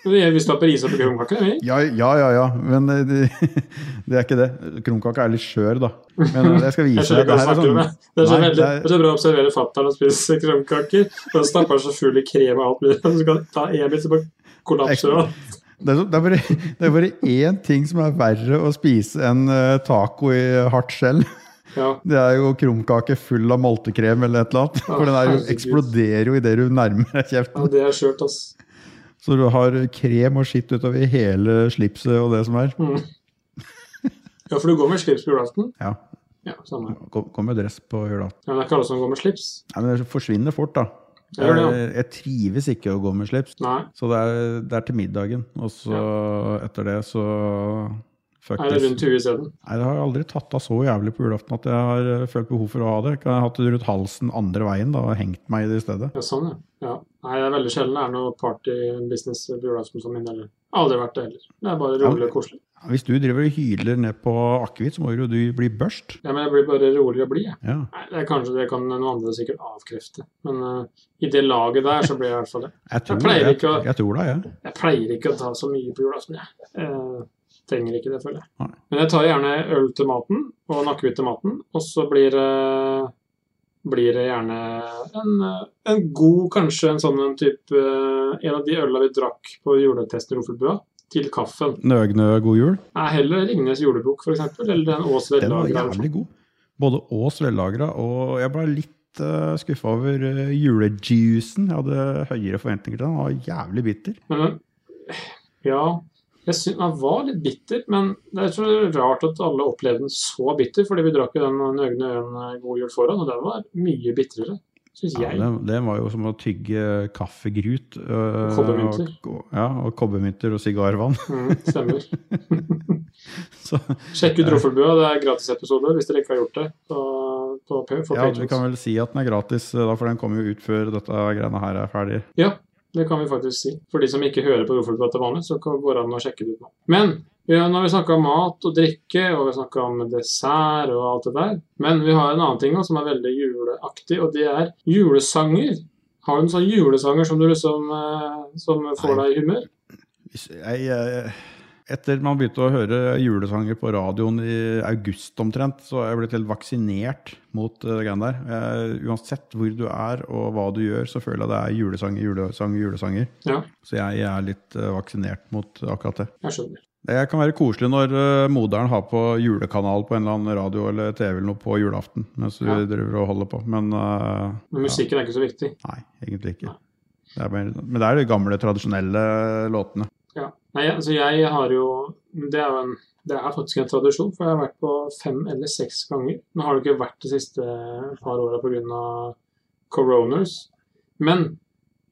[SPEAKER 2] Vi vi stapper is oppi krumkaker, vi.
[SPEAKER 1] (laughs) Ja, ja, ja, ja. men eh, det, (laughs) det er ikke det. Kronkake er litt skjør, da. Men eh, jeg skal
[SPEAKER 2] Jeg
[SPEAKER 1] vise
[SPEAKER 2] skjønner
[SPEAKER 1] deg. Det
[SPEAKER 2] ikke hva du
[SPEAKER 1] her er
[SPEAKER 2] snakker
[SPEAKER 1] sånn,
[SPEAKER 2] om. jeg. Det er så,
[SPEAKER 1] Nei,
[SPEAKER 2] veldig,
[SPEAKER 1] det er-
[SPEAKER 2] det er så bra å observere fatter'n og spise krumkaker. Og så stapper han så full i krem og alt mulig, og så kan han ta en bit, så bare kollapser han.
[SPEAKER 1] det er så- det er bare det er bare én ting som er verre å spise enn eh, taco i hardt skjell. (laughs)
[SPEAKER 2] Ja.
[SPEAKER 1] Det er jo krumkake full av maltekrem eller et eller annet. For den er jo,
[SPEAKER 2] herregud.
[SPEAKER 1] eksploderer jo idet du nærmer deg
[SPEAKER 2] ja,
[SPEAKER 1] kjeften.
[SPEAKER 2] det er skjørt, ass.
[SPEAKER 1] Så du har krem og skitt utover hele slipset og det som er.
[SPEAKER 2] Mm. Ja, for du går med slips på julaften?
[SPEAKER 1] Ja.
[SPEAKER 2] Ja, samme.
[SPEAKER 1] Kom kom med dress på julaften.
[SPEAKER 2] Ja, men det er ikke alle som går med slips.
[SPEAKER 1] Nei, men Det forsvinner fort, da.
[SPEAKER 2] Det gjør det, ja.
[SPEAKER 1] Jeg, jeg trives ikke å gå med slips.
[SPEAKER 2] Nei.
[SPEAKER 1] Så det er, det er til middagen, og så etter det så fuck
[SPEAKER 2] Er det
[SPEAKER 1] this.
[SPEAKER 2] rundt huet isteden?
[SPEAKER 1] Nei, det har jeg aldri tatt av så jævlig på julaften at jeg har eh, følt behov for å ha det. Kan jeg ha hatt det rundt halsen andre veien da, og hengt meg i det i stedet.
[SPEAKER 2] Ja, sånn, ja. ja. Nei, det er veldig sjelden det er noe party-business på julaften for min del. Aldri vært det heller. Det er bare rolig og koselig.
[SPEAKER 1] Hvis du driver og hyler ned på akevitt, så må jo du bli børst.
[SPEAKER 2] Ja, men jeg blir bare rolig og blid, jeg.
[SPEAKER 1] Ja.
[SPEAKER 2] Nei, det er kanskje det kan noen andre sikkert avkrefte, men eh, i det laget der så blir jeg i hvert fall det.
[SPEAKER 1] Jeg tror,
[SPEAKER 2] pleier
[SPEAKER 1] jeg,
[SPEAKER 2] ikke å-
[SPEAKER 1] jeg tror det, jeg.
[SPEAKER 2] Jeg pleier ikke å ta så mye på julaften, jeg. Eh, trenger ikke det, føler
[SPEAKER 1] Nei.
[SPEAKER 2] jeg. Men jeg tar gjerne øl til maten, og nakkehvitt til maten, og så blir det blir det gjerne en, eh, en god, kanskje en sånn en type eh, En av de ølene vi drakk på juletesten i Roffelbua, til kaffen.
[SPEAKER 1] Nøgne god jul.
[SPEAKER 2] Nei, heller Ringnes julebok, for eksempel, eller den Ås
[SPEAKER 1] Den var
[SPEAKER 2] Vedlagra.
[SPEAKER 1] jævlig god. Både Ås vellagra, og jeg ble litt uh, skuffa over eh, julejuicen. Jeg hadde høyere forventninger til den. Den var jævlig bitter.
[SPEAKER 2] Men den- ja, jeg syns den var litt bitter, men det er så rart at alle opplevde den så bitter, fordi vi drakk jo den Nøgne Øen God jul foran, og den var mye bitrere, syns
[SPEAKER 1] Ja,
[SPEAKER 2] jeg.
[SPEAKER 1] den, den var jo som å tygge kaffegrut. øh,
[SPEAKER 2] Og kobbermynter.
[SPEAKER 1] Og, og- ja, og kobbermynter og sigarvann. (laughs)
[SPEAKER 2] Mm, stemmer.
[SPEAKER 1] Så (laughs)
[SPEAKER 2] Sjekk ut Roffelbua, det er gratisepisoder hvis dere ikke har gjort det. Så på, på, for
[SPEAKER 1] Ja,
[SPEAKER 2] patrons.
[SPEAKER 1] vi kan vel si at den er gratis, eh, da, for den kommer jo ut før dette greiene her er ferdig.
[SPEAKER 2] Ja, det kan vi faktisk si. For de som ikke hører på Roforbladet til vanlig, så kan- går det an å sjekke det ut nå. Men ja, nå har vi snakka om mat og drikke, og vi har snakka om dessert og alt det der. Men vi har en annen ting også, som er veldig juleaktig, og det er julesanger. Har du en sånn julesanger som du liksom eh, som får deg i humør?
[SPEAKER 1] Hvis Jeg, eh, etter man begynte å høre julesanger på radioen i august omtrent, så er jeg blitt helt vaksinert mot eh, det greiene der. Eh, uansett hvor du er og hva du gjør, så føler jeg det er julesanger, julesanger, julesanger.
[SPEAKER 2] Ja,
[SPEAKER 1] Så jeg er litt eh, vaksinert mot akkurat det.
[SPEAKER 2] jeg skjønner.
[SPEAKER 1] Det kan være koselig når eh, moderen har på julekanal på en eller annen radio eller TV eller noe på julaften mens du
[SPEAKER 2] Ja.
[SPEAKER 1] driver og holder på, men eh,
[SPEAKER 2] Men musikken er ikke så viktig.
[SPEAKER 1] nei, egentlig ikke. Det er mer, men det er de gamle, tradisjonelle låtene.
[SPEAKER 2] Ja. Nei, altså jeg har jo Det er jo en det er faktisk en tradisjon, for jeg har vært på fem eller seks ganger. Nå har det ikke vært de siste par åra pga. coroners. Men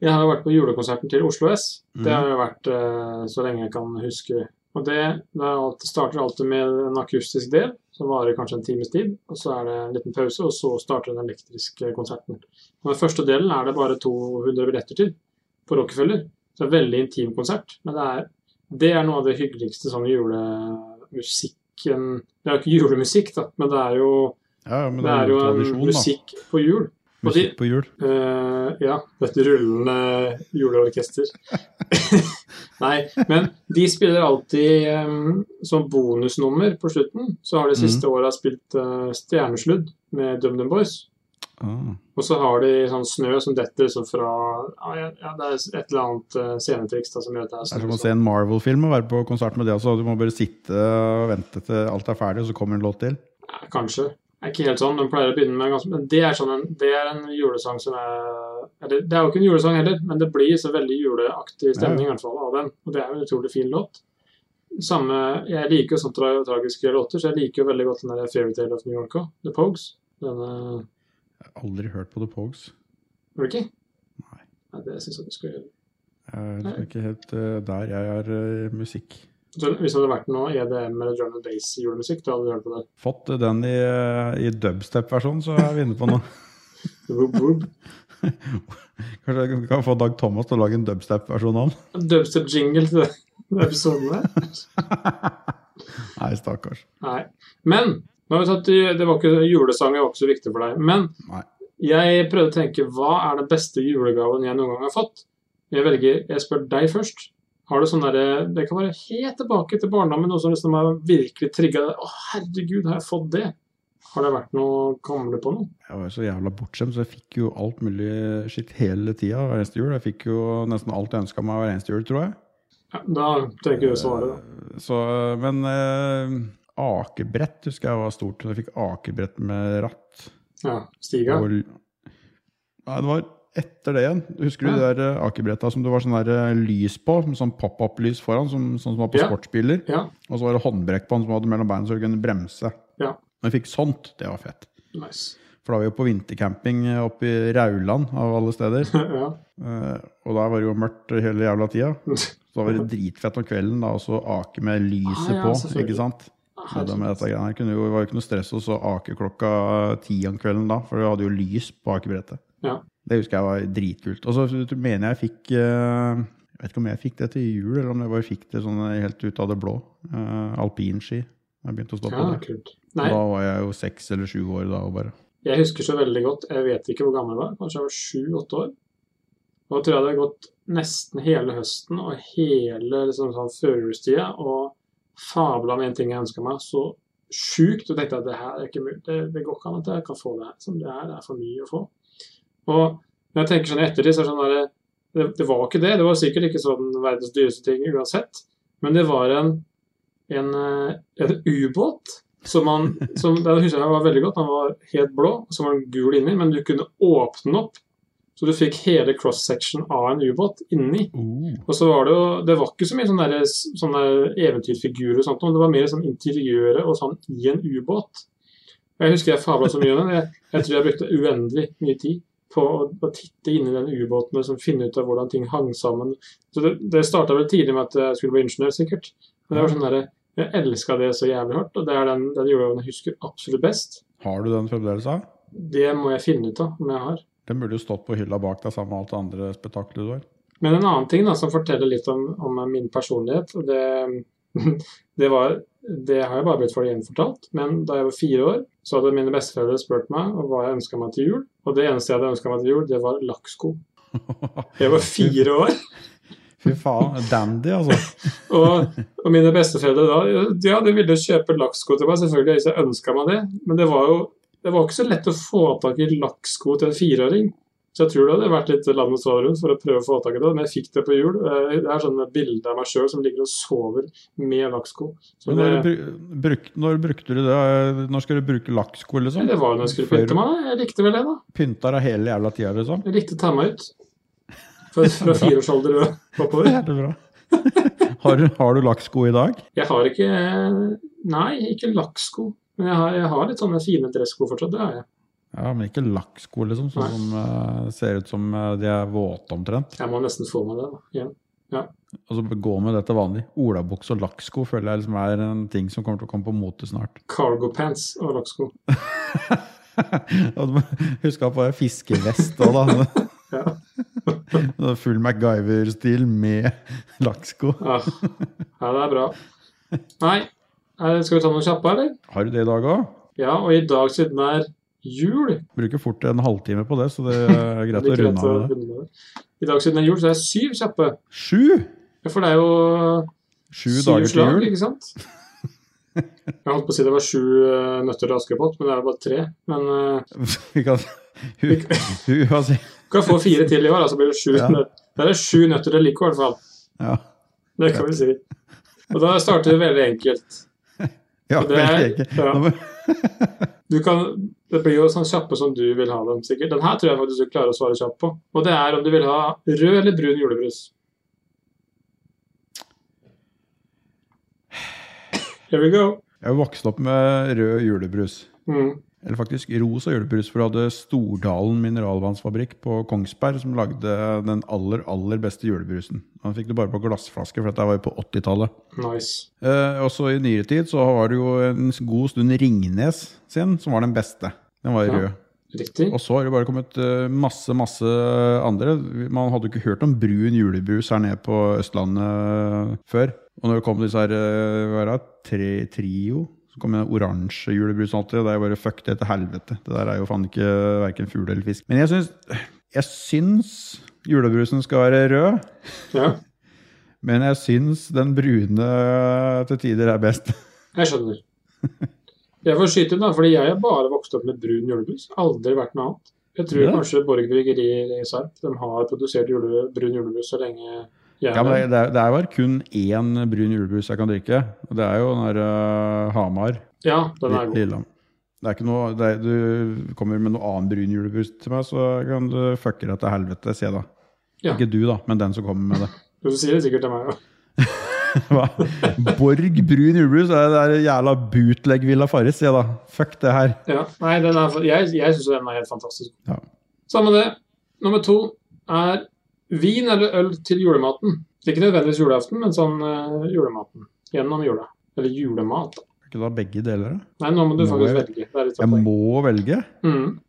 [SPEAKER 2] jeg har jo vært på julekonserten til Oslo S. Det har jeg vært eh, så lenge jeg kan huske. Og det, det er alltid, starter alltid med en akustisk del, som varer kanskje en times tid. Og så er det en liten pause, og så starter den elektriske konserten. Og den første delen er det bare 200 billetter til på Rockefeller. Så det er en veldig intim konsert. Men det er, det er noe av det hyggeligste sånn julemusikken Det er jo ikke julemusikk, da, men det er jo,
[SPEAKER 1] Ja, ja, men
[SPEAKER 2] det er jo en
[SPEAKER 1] tradisjon, da.
[SPEAKER 2] musikk på jul. Og de-
[SPEAKER 1] Musikk på jul.
[SPEAKER 2] Eh, ja, dette rullende juleorkester. (laughs) Nei, men de spiller alltid em, som bonusnummer på slutten. Så
[SPEAKER 1] Mhm.
[SPEAKER 2] har de siste åra spilt eh, Stjernesludd med DumDum Boys.
[SPEAKER 1] Ah.
[SPEAKER 2] Og så har de sånn snø som detter liksom fra ja, ja, ja, Det er et eller annet eh, scenetriks da, som gjør at det er
[SPEAKER 1] Det sånn er
[SPEAKER 2] snø.
[SPEAKER 1] som å se
[SPEAKER 2] som-
[SPEAKER 1] en Marvel-film og være på konsert med det også. Du må bare sitte og vente til alt er ferdig, og så kommer en låt til.
[SPEAKER 2] Ja, kanskje. Det er ikke helt sånn. Den pleier å begynne med ganske Men det er, sånn en, det er en julesang som er eller, Det er jo ikke en julesang heller, men det blir så veldig juleaktig stemning i hvert fall av den. Og det er jo en utrolig fin låt. Samme, jeg liker jo sånne tra tragiske låter, så jeg liker jo veldig godt den der Fairytale of New York òg. The Pogues. Den eh,
[SPEAKER 1] Jeg har aldri hørt på The Pogues.
[SPEAKER 2] Gjør du ikke?
[SPEAKER 1] Nei.
[SPEAKER 2] Nei, det syns jeg du skal gjøre.
[SPEAKER 1] Jeg er liksom ikke helt eh, der jeg er eh, musikk.
[SPEAKER 2] Så hvis det hadde vært noe EDM eller drum and bass julemusikk, da hadde du
[SPEAKER 1] (laughs)
[SPEAKER 2] hørt på det.
[SPEAKER 1] Fått den i, eh, i dubstep-versjonen, så er vi inne på noe. (laughs)
[SPEAKER 2] Whoop, whoop.
[SPEAKER 1] Kanskje jeg kan få Dag Thomas til å lage en dubstep-versjon av den? (laughs)
[SPEAKER 2] Dubstep jingle til den episoden der.
[SPEAKER 1] Nei, stakkars.
[SPEAKER 2] Nei. Men nå har vi tatt, det var ikke, julesanger var ikke så viktig for deg. Men
[SPEAKER 1] Nei.
[SPEAKER 2] jeg prøvde å tenke hva er den beste julegaven jeg noen gang har fått? Jeg velger, jeg spør deg først. Har du sånn derre Det kan være helt tilbake til barndommen, noe som liksom har virkelig trigga deg. Å, herregud, har jeg fått det? Har det vært noe Kommer du på noe?
[SPEAKER 1] Jeg var så jævla bortskjemt, så jeg fikk jo alt mulig skitt hele tida hver eneste jul. Jeg fikk jo nesten alt jeg ønska meg hver eneste jul, tror jeg.
[SPEAKER 2] Ja, da tenker du å svare, da.
[SPEAKER 1] Så, men eh, akebrett husker jeg var stort. Jeg fikk akebrett med ratt.
[SPEAKER 2] Ja, Stiga?
[SPEAKER 1] Og, nei, det var etter det igjen. Husker du de
[SPEAKER 2] Ja.
[SPEAKER 1] der eh, akebretta som det var sånn der eh, lys på? Med sånn pop-up-lys foran, som, sånn som var på
[SPEAKER 2] Ja.
[SPEAKER 1] sportsbiler.
[SPEAKER 2] Ja.
[SPEAKER 1] Og så var det håndbrekk på den som hadde mellom beina, så du kunne bremse.
[SPEAKER 2] Ja.
[SPEAKER 1] Når jeg fikk sånt, det var fett.
[SPEAKER 2] Nice. (laughs)
[SPEAKER 1] For da var vi jo på vintercamping eh, oppe i Rauland, av alle
[SPEAKER 2] (laughs)
[SPEAKER 1] steder.
[SPEAKER 2] ja.
[SPEAKER 1] Eh, og der var det jo mørkt hele jævla tida. Så da var det dritfett om kvelden da, og så ake med lyset
[SPEAKER 2] Ah, ja,
[SPEAKER 1] på.
[SPEAKER 2] selvfølgelig.
[SPEAKER 1] ikke sant? Ja, det, med dette greiene her kunne jo, var jo ikke noe stress å så ake klokka eh, ti om kvelden da, for du hadde jo lys på akebrettet.
[SPEAKER 2] Ja.
[SPEAKER 1] Det husker jeg var dritkult. Og så mener jeg jeg fikk eh, Jeg vet ikke om jeg fikk det til jul, eller om jeg bare fikk det sånn helt ut av det blå. Eh, Alpinski. Jeg begynte å stå på
[SPEAKER 2] ja,
[SPEAKER 1] det.
[SPEAKER 2] kult.
[SPEAKER 1] Og
[SPEAKER 2] Nei,
[SPEAKER 1] Da var jeg jo seks eller sju år da, og bare
[SPEAKER 2] Jeg husker så veldig godt, jeg vet ikke hvor gammel jeg var, kanskje jeg var sju-åtte år. Da tror jeg det hadde gått nesten hele høsten og hele liksom, sånn førjulstida og fabla om en ting jeg ønska meg så sjukt, og tenkte at det her er ikke mulig, det, det går ikke an at jeg kan få det her. Som det her det er for mye å få. Og når jeg tenker sånn i ettertid, så er det sånn der, det, det var ikke det. Det var sikkert ikke sånn verdens dyreste ting uansett, men det var en, en, eh, en ubåt. Som man, som, den husker jeg var veldig godt. Den var helt blå, og så var den gul inni, men du kunne åpne den opp. Så du fikk hele cross-section av en ubåt inni. Og så var det jo Det var ikke så mye sånne, der, sånne eventyrfigurer og sånt, men det var mer sånn interiøret og sånn i en ubåt. Og Jeg husker jeg fabla så mye om den. Jeg, jeg tror jeg brukte uendelig mye tid på å, å titte inni den ubåten og liksom finne ut av hvordan ting hang sammen. Så Det, det starta vel tidlig med at jeg skulle bli ingeniør, sikkert. Men det var sånn der, jeg elska det så jævlig hardt, og det er den, den julegaven jeg husker absolutt best.
[SPEAKER 1] Har du den fremdeles? da?
[SPEAKER 2] Det må jeg finne ut av om jeg har.
[SPEAKER 1] Den burde jo stått på hylla bak deg sammen med alt det andre spetakkelet du har.
[SPEAKER 2] Men en annen ting da, som forteller litt om, om min personlighet, og det, (laughs) det, var, det har jeg bare blitt for gjenfortalt, men da jeg var fire år, så hadde mine besteforeldre spurt meg om hva jeg ønska meg til jul, og det eneste jeg hadde ønska meg til jul, det var lakksko. Jeg var fire år,
[SPEAKER 1] (laughs) Fy faen. Dandy, altså.
[SPEAKER 2] og, og mine besteforeldre da ja, de ville kjøpe lakksko til meg, selvfølgelig hvis jeg ønska meg det, men det var jo det var ikke så lett å få tak i lakksko til en fireåring. Så jeg tror det hadde vært litt landets over rundt for å prøve å få tak i det, men jeg fikk det på jul. Eh, Det er sånne bilder av meg sjøl som ligger og sover med lakksko. Så
[SPEAKER 1] Men
[SPEAKER 2] det,
[SPEAKER 1] når, bru- bruk, når brukte du det? Når skal du bruke lakksko, liksom?
[SPEAKER 2] det var jo når jeg skulle pynte meg, da. Jeg likte vel det, da.
[SPEAKER 1] Pynta deg hele jævla tida, liksom? (laughs)
[SPEAKER 2] Jeg likte å ta meg ut. Fra, fra fireårsalder og oppover.
[SPEAKER 1] Jævlig bra. (laughs) har, du- har du lakksko i dag?
[SPEAKER 2] Jeg har ikke eh, Nei, ikke lakksko. Men jeg har, jeg har litt sånne fine dressko fortsatt, det har jeg.
[SPEAKER 1] Ja, men ikke lakksko, liksom. Sånn som eh, ser ut som eh, de er våte omtrent.
[SPEAKER 2] Jeg må nesten få meg det da, igjen.
[SPEAKER 1] Og så gå med det til vanlig. Olabukse og lakksko føler jeg liksom er en ting som kommer til å komme på mote snart. (laughs)
[SPEAKER 2] Cargo pants og lakksko.
[SPEAKER 1] Og du må Huske på det fiskevest òg,
[SPEAKER 2] (laughs)
[SPEAKER 1] da.
[SPEAKER 2] Ja.
[SPEAKER 1] Sånn (laughs) Full MacGyver-stil med lakksko.
[SPEAKER 2] Ja. Ah. ja, det er bra. Nei, eh, skal vi ta noen kjappe, eller?
[SPEAKER 1] Har du det i dag òg?
[SPEAKER 2] Ja, og i dag siden det er jul
[SPEAKER 1] Bruker fort en halvtime på det, så det er greit å
[SPEAKER 2] (laughs) det er greit
[SPEAKER 1] runde av
[SPEAKER 2] å
[SPEAKER 1] med det.
[SPEAKER 2] runde av det. I dag siden det er jul, så er det syv kjappe.
[SPEAKER 1] Sju!
[SPEAKER 2] Ja, For det er jo
[SPEAKER 1] Sju
[SPEAKER 2] syv
[SPEAKER 1] dager til
[SPEAKER 2] slag,
[SPEAKER 1] jul.
[SPEAKER 2] ikke sant? Jeg holdt på å si det var sju eh, nøtter til Askepott, men det er jo bare tre. Men eh,
[SPEAKER 1] (laughs) Vi kan, hun, hun, har si-
[SPEAKER 2] du kan få fire til i år, da, så blir det sju.
[SPEAKER 1] Ja.
[SPEAKER 2] nøtt- Det er sju nøtter til Lico, i hvert fall.
[SPEAKER 1] ja,
[SPEAKER 2] Det kan vi si. Og da starter vi veldig enkelt.
[SPEAKER 1] ja
[SPEAKER 2] Og det er-
[SPEAKER 1] veldig enkelt.
[SPEAKER 2] ja.
[SPEAKER 1] Nå må-
[SPEAKER 2] Du kan, det blir jo sånn kjappe som du vil ha dem, sikkert. Den her tror jeg faktisk du klarer å svare kjapt på. Og det er om du vil ha rød eller brun julebrus. Here we go.
[SPEAKER 1] Jeg vokste opp med rød julebrus.
[SPEAKER 2] Mm.
[SPEAKER 1] Eller faktisk rosa julebrus, for du hadde Stordalen mineralvannsfabrikk på Kongsberg som lagde den aller, aller beste julebrusen. Den fikk du bare på glassflaske, for dette var jo på 80-tallet.
[SPEAKER 2] Nice.
[SPEAKER 1] Eh, også i nyere tid så var det jo en god stund Ringnes sin som var den beste. Den var
[SPEAKER 2] Ja.
[SPEAKER 1] rød.
[SPEAKER 2] Riktig.
[SPEAKER 1] Og så har det bare kommet eh, masse, masse andre. Man hadde jo ikke hørt om brun julebrus her nede på Østlandet eh, før. Og når det kom disse her, eh, hva er det, tre, trio, så kom den oransje julebrusen alltid, og det er jo bare fuck det til helvete. Det der er jo faen ikke verken fugl eller fisk. Men jeg syns, jeg syns julebrusen skal være rød,
[SPEAKER 2] Ja,
[SPEAKER 1] men jeg syns den brune eh, til tider er best.
[SPEAKER 2] jeg skjønner. Jeg får skyte inn, da, fordi jeg har bare vokst opp med brun julebrus. Aldri vært noe annet. Jeg tror
[SPEAKER 1] Ja.
[SPEAKER 2] kanskje Borg Bryggeri i Sarp de har produsert jule, brun julebrus så lenge jeg
[SPEAKER 1] Ja,
[SPEAKER 2] har
[SPEAKER 1] men det, det er- det er bare kun én brun julebrus jeg kan drikke, og det er jo den der eh, Hamar.
[SPEAKER 2] ja, den er god.
[SPEAKER 1] Lillehammer. Det er ikke noe, det er, du kommer med noe annen brun julebrus til meg, så kan du fucke deg til helvete, sier jeg da.
[SPEAKER 2] Ja.
[SPEAKER 1] Ikke du, da, men den som kommer med det. (laughs)
[SPEAKER 2] Du sier det sikkert til meg òg.
[SPEAKER 1] Hva? Borg brun julebrus? Det er det er jævla bootleg Villa Farris, sier jeg da. Fuck det her.
[SPEAKER 2] Ja, nei, den er, jeg, jeg syns den er helt fantastisk.
[SPEAKER 1] Ja.
[SPEAKER 2] Samme det. Nummer to er vin eller øl til julematen. Ikke nødvendigvis julaften, men sånn eh, julematen. Gjennom jula. Eller julemat. da.
[SPEAKER 1] Er ikke da begge deler, da?
[SPEAKER 2] Nei, nå må du
[SPEAKER 1] Må
[SPEAKER 2] faktisk
[SPEAKER 1] jeg-
[SPEAKER 2] velge. Det er litt
[SPEAKER 1] Jeg
[SPEAKER 2] sånn.
[SPEAKER 1] må velge.
[SPEAKER 2] Mm.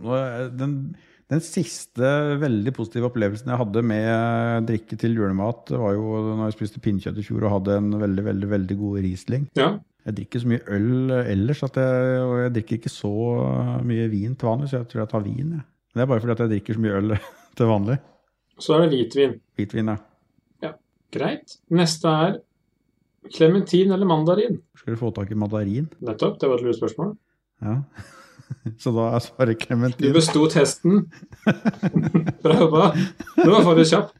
[SPEAKER 1] Nå er- Den, den siste veldig positive opplevelsen jeg hadde med eh, drikke til julemat, det var jo når jeg spiste pinnkjøtt i fjor og hadde en veldig, veldig, veldig god Riesling.
[SPEAKER 2] Ja.
[SPEAKER 1] Jeg drikker så mye øl eh, ellers, at jeg, og jeg drikker ikke så eh, mye vin til vanlig, så jeg tror jeg tar vin. Jeg. Men Det er bare fordi at jeg drikker så mye øl (laughs) til vanlig.
[SPEAKER 2] Så er det hvitvin.
[SPEAKER 1] Hvitvin, ja.
[SPEAKER 2] Greit. Neste er klementin eller mandarin.
[SPEAKER 1] Skal du få tak i mandarin?
[SPEAKER 2] Nettopp. Det var et lurt spørsmål.
[SPEAKER 1] Ja. (laughs) Så da er svaret
[SPEAKER 2] Du
[SPEAKER 1] klementin.
[SPEAKER 2] besto testen. Bra jobba. Du var faktisk kjapp.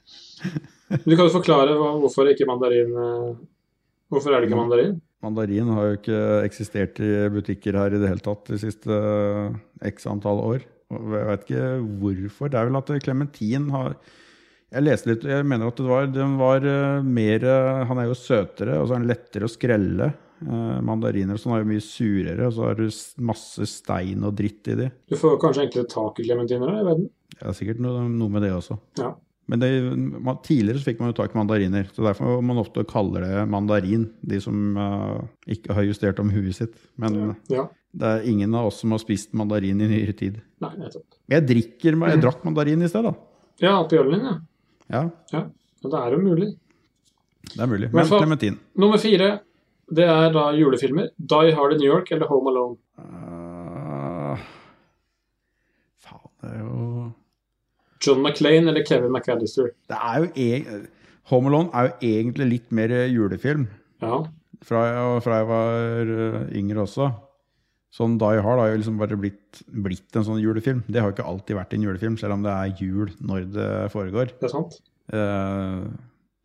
[SPEAKER 2] Du kan jo forklare hva, hvorfor ikke mandarin eh, Hvorfor er det ikke mandarin?
[SPEAKER 1] Mandarin har jo ikke eksistert i butikker her i det hele tatt de siste eh, x antall år. Og Jeg vet ikke hvorfor. Det er vel at klementin har Jeg leste litt, jeg mener at det var, den var eh, mer eh, Han er jo søtere, og så er den lettere å skrelle. Eh, mandariner og sånn er jo mye surere, og så har du s- masse stein og dritt i de.
[SPEAKER 2] Du får kanskje enklere tak i klementiner da, i verden.
[SPEAKER 1] Det er sikkert noe, noe med det også.
[SPEAKER 2] Ja.
[SPEAKER 1] Men det, man, tidligere så fikk man jo tak i mandariner, så derfor man ofte kaller det mandarin, de som eh, ikke har justert om huet sitt. Men
[SPEAKER 2] Ja.
[SPEAKER 1] Det er ingen av oss som har spist mandarin i nyere tid.
[SPEAKER 2] Nei, nettopp.
[SPEAKER 1] Men Jeg drikker,
[SPEAKER 2] Mhm.
[SPEAKER 1] jeg drakk mandarin i sted, da.
[SPEAKER 2] Ja, oppi ølen din, ja.
[SPEAKER 1] Ja,
[SPEAKER 2] Ja, det er jo mulig.
[SPEAKER 1] det er mulig.
[SPEAKER 2] Men
[SPEAKER 1] Men
[SPEAKER 2] for-
[SPEAKER 1] klementin.
[SPEAKER 2] Nummer fire, det er da julefilmer. Die Hard in New York eller Home Alone.
[SPEAKER 1] Eh, faen, det er jo
[SPEAKER 2] John McClane eller Kevin McAllister.
[SPEAKER 1] Det er jo e Home Alone er jo egentlig litt mer julefilm.
[SPEAKER 2] Ja.
[SPEAKER 1] Fra jeg, fra jeg var eh, yngre også. Sånn Die Hard har jo liksom bare blitt, blitt en sånn julefilm. Det har jo ikke alltid vært en julefilm, selv om det er jul når det foregår.
[SPEAKER 2] Det er sant.
[SPEAKER 1] Eh,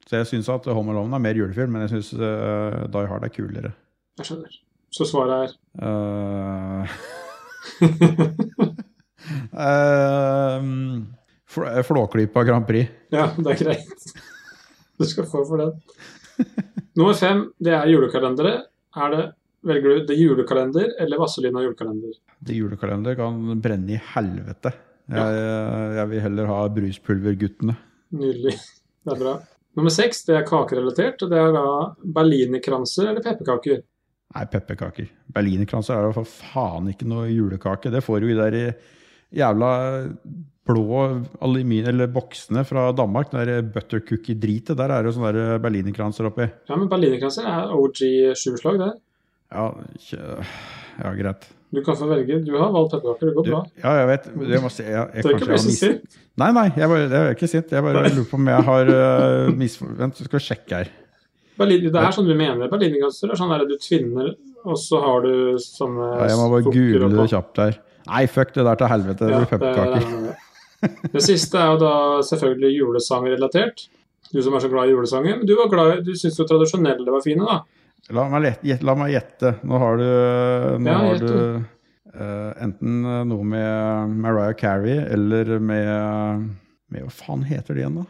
[SPEAKER 1] så jeg syns at Home Alone er mer julefilm, men jeg syns eh, Die Hard er kulere.
[SPEAKER 2] Jeg skjønner. Så svaret er
[SPEAKER 1] Eh, (laughs) eh, Flå- eh, Flåklypa Grand Prix.
[SPEAKER 2] Ja, det er greit. Du skal få for den. Nummer fem, det er julekalendere. Er det Velger du The Julekalender eller Vazelina julekalender?
[SPEAKER 1] Det julekalender kan brenne i helvete. Jeg, eh, jeg vil heller ha Bruspulverguttene.
[SPEAKER 2] Nydelig. Det er bra. Nummer seks, det er kakerelatert. og Det er da berlinerkranser eller pepperkaker.
[SPEAKER 1] Nei, pepperkaker. Berlinerkranser er jo for faen ikke noe julekake. Det får du i de der jævla blå aluminium, eller boksene fra Danmark. Den der buttercookie-dritet. Der er det jo sånne der berlinerkranser oppi.
[SPEAKER 2] Ja, men berlinerkranser er OG sjuslag, det.
[SPEAKER 1] Ja, kjø- ja greit.
[SPEAKER 2] Du kan få velge. Du har valgt pepperkaker, det går
[SPEAKER 1] Du,
[SPEAKER 2] bra.
[SPEAKER 1] ja, jeg vet. Jeg må se. Jeg, jeg,
[SPEAKER 2] Du er
[SPEAKER 1] kanskje jeg
[SPEAKER 2] ikke blitt
[SPEAKER 1] har
[SPEAKER 2] så
[SPEAKER 1] mis-
[SPEAKER 2] sint.
[SPEAKER 1] Nei, nei, jeg, bare, jeg er ikke sint. Jeg bare lurer på om jeg har uh, misfor... Vent, skal vi sjekke her.
[SPEAKER 2] Berlin, det er sånn vi mener berlinerglasser. Det er sånn der du tvinner, og så har du sånne
[SPEAKER 1] Ja, jeg må bare google det kjapt her. Nei, fuck det der til helvete. Det blir pepperkaker.
[SPEAKER 2] det, det. det siste er jo da selvfølgelig julesangrelatert. Du som er så glad i julesanger. Men du, var glad, i- du syns jo tradisjonelle var fine, da.
[SPEAKER 1] La meg, let, gjet- la meg gjette. Nå har du, nå
[SPEAKER 2] Ja,
[SPEAKER 1] har
[SPEAKER 2] gjett
[SPEAKER 1] du eh, enten eh, noe med Mariah Carey eller med, med Hva faen heter de igjen, da?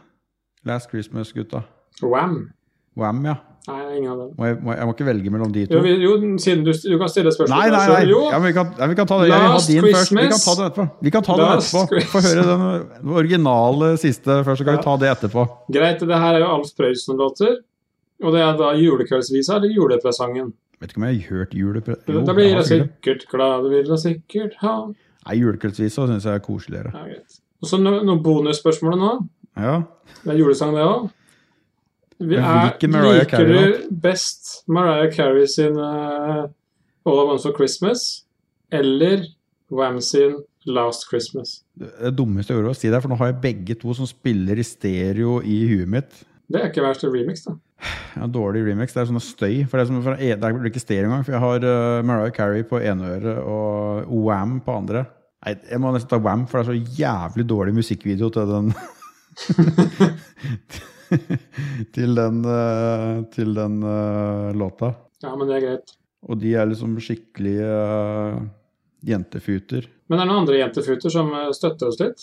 [SPEAKER 1] Last Christmas-gutta.
[SPEAKER 2] Wham.
[SPEAKER 1] Wham, ja.
[SPEAKER 2] Nei, ingen av dem.
[SPEAKER 1] Må jeg, må, jeg- jeg må ikke velge mellom de
[SPEAKER 2] Jo,
[SPEAKER 1] to.
[SPEAKER 2] vi, jo siden du, du kan stille
[SPEAKER 1] Nei,
[SPEAKER 2] spørsmål
[SPEAKER 1] nei,
[SPEAKER 2] selv.
[SPEAKER 1] nei.
[SPEAKER 2] Jo,
[SPEAKER 1] Ja, men vi, kan, ja, vi kan ta det. Jeg vil ha
[SPEAKER 2] Last
[SPEAKER 1] din først. Vi kan
[SPEAKER 2] Christmas.
[SPEAKER 1] ta det etterpå. Vi kan ta den
[SPEAKER 2] Last
[SPEAKER 1] etterpå. Få
[SPEAKER 2] Christmas.
[SPEAKER 1] høre den den originale siste først, så kan
[SPEAKER 2] Ja.
[SPEAKER 1] vi ta det etterpå.
[SPEAKER 2] greit. Det her er jo Alf Prøysen-låter. Og det er da julekveldsvisa eller julepresangen.
[SPEAKER 1] Vet ikke om jeg har hørt julepre... Jo,
[SPEAKER 2] Da blir
[SPEAKER 1] jeg
[SPEAKER 2] jeg
[SPEAKER 1] har sikkert-
[SPEAKER 2] sikkert glad, du vil da sikkert ha
[SPEAKER 1] Nei, julekveldsvisa syns jeg er koseligere.
[SPEAKER 2] Ja, greit. Og så no, noen bonusspørsmål nå.
[SPEAKER 1] Ja.
[SPEAKER 2] Det er julesang, det òg.
[SPEAKER 1] Men hvilken Mariah
[SPEAKER 2] Liker
[SPEAKER 1] Carey
[SPEAKER 2] du best Mariah Carey sin eh, All I Want for Christmas eller Wham sin Last Christmas?
[SPEAKER 1] Det dummeste jeg gjorde var å si det, for nå har jeg begge to som spiller i stereo i huet mitt.
[SPEAKER 2] Det er ikke verst i remix, da.
[SPEAKER 1] Jeg har en dårlig remix. Det er sånn støy. For det er, som, for det er ikke stereo engang, for jeg har eh, Mariah Carey på ene øret og Wham på andre. Nei, jeg må nesten ta Wham, for det er så jævlig dårlig musikkvideo til den (laughs) Til den, eh, til den eh, låta.
[SPEAKER 2] Ja, men det er greit.
[SPEAKER 1] Og de er liksom skikkelige eh, jentefuter.
[SPEAKER 2] Men er det noen andre jentefuter som eh, støtter oss litt?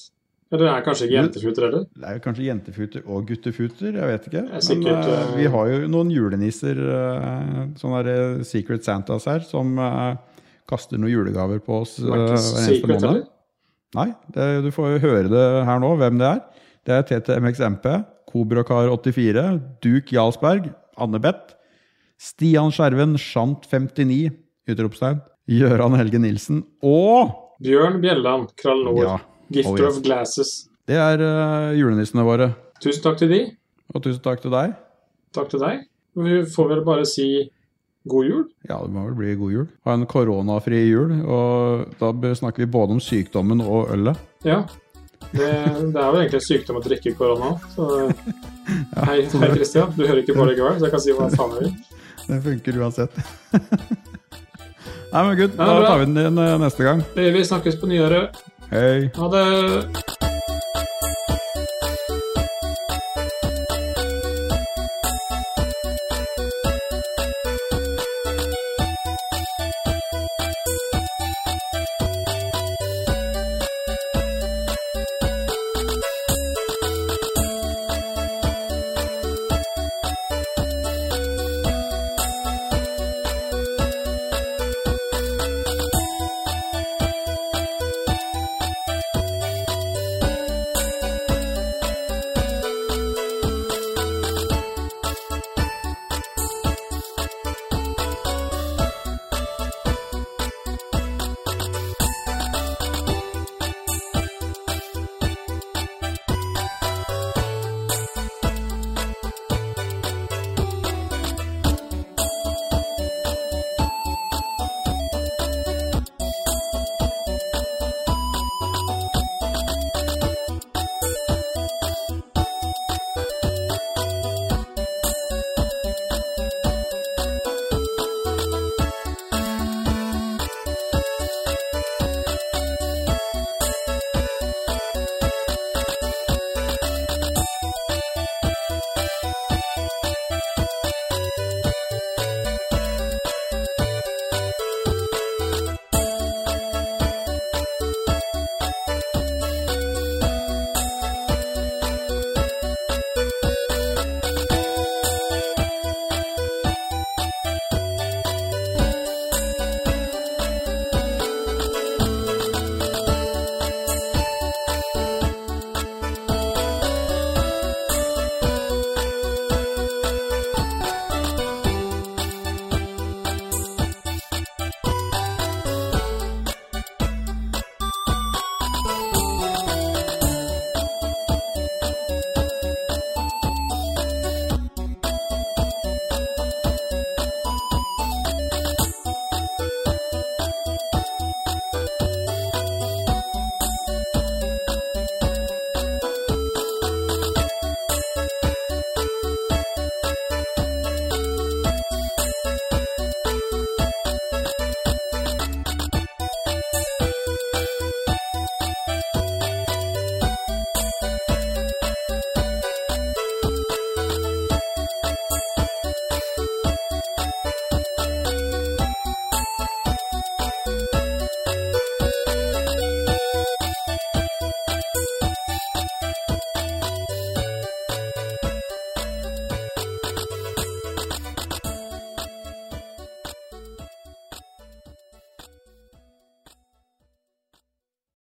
[SPEAKER 2] Eller er det kanskje ikke jentefuter heller?
[SPEAKER 1] Det er jo kanskje jentefuter og guttefuter, jeg vet ikke.
[SPEAKER 2] Det er sikkert,
[SPEAKER 1] Men eh,
[SPEAKER 2] eh,
[SPEAKER 1] vi har jo noen julenisser, eh, sånne der eh, Secret Santas her, som eh, kaster noen julegaver på oss eh,
[SPEAKER 2] Det er
[SPEAKER 1] hver
[SPEAKER 2] ikke
[SPEAKER 1] eneste
[SPEAKER 2] secret
[SPEAKER 1] måned.
[SPEAKER 2] heller.
[SPEAKER 1] Nei, det, du får jo høre det her nå, hvem det er. Det er TTMXMP, Kobrakar84, Duke Jarlsberg, Annebeth, Stian Skjerven, Shant59, utropstegn, Gøran Helge Nilsen og
[SPEAKER 2] Bjørn Bjelland, Krall Nord,
[SPEAKER 1] Ja,
[SPEAKER 2] Gifter
[SPEAKER 1] oh yes.
[SPEAKER 2] of Glasses.
[SPEAKER 1] det er eh, julenissene våre.
[SPEAKER 2] Tusen takk til de.
[SPEAKER 1] Og tusen takk til deg.
[SPEAKER 2] Takk til deg. Vi får vel bare si god jul.
[SPEAKER 1] Ja, det må vel bli god jul. Ha en koronafri jul. Og da be- snakker vi både om sykdommen og ølet.
[SPEAKER 2] Ja. Det, det er vel egentlig en sykdom å drikke korona. Så eh, hei, hei Christian. Du hører ikke på likevel, så jeg kan si hva faen jeg vil.
[SPEAKER 1] Det funker uansett. (laughs) Nei, men gutt,
[SPEAKER 2] Ja,
[SPEAKER 1] da
[SPEAKER 2] bra.
[SPEAKER 1] tar vi den igjen eh, neste gang.
[SPEAKER 2] Vi snakkes på nyåret.
[SPEAKER 1] Hei.
[SPEAKER 2] Ha det.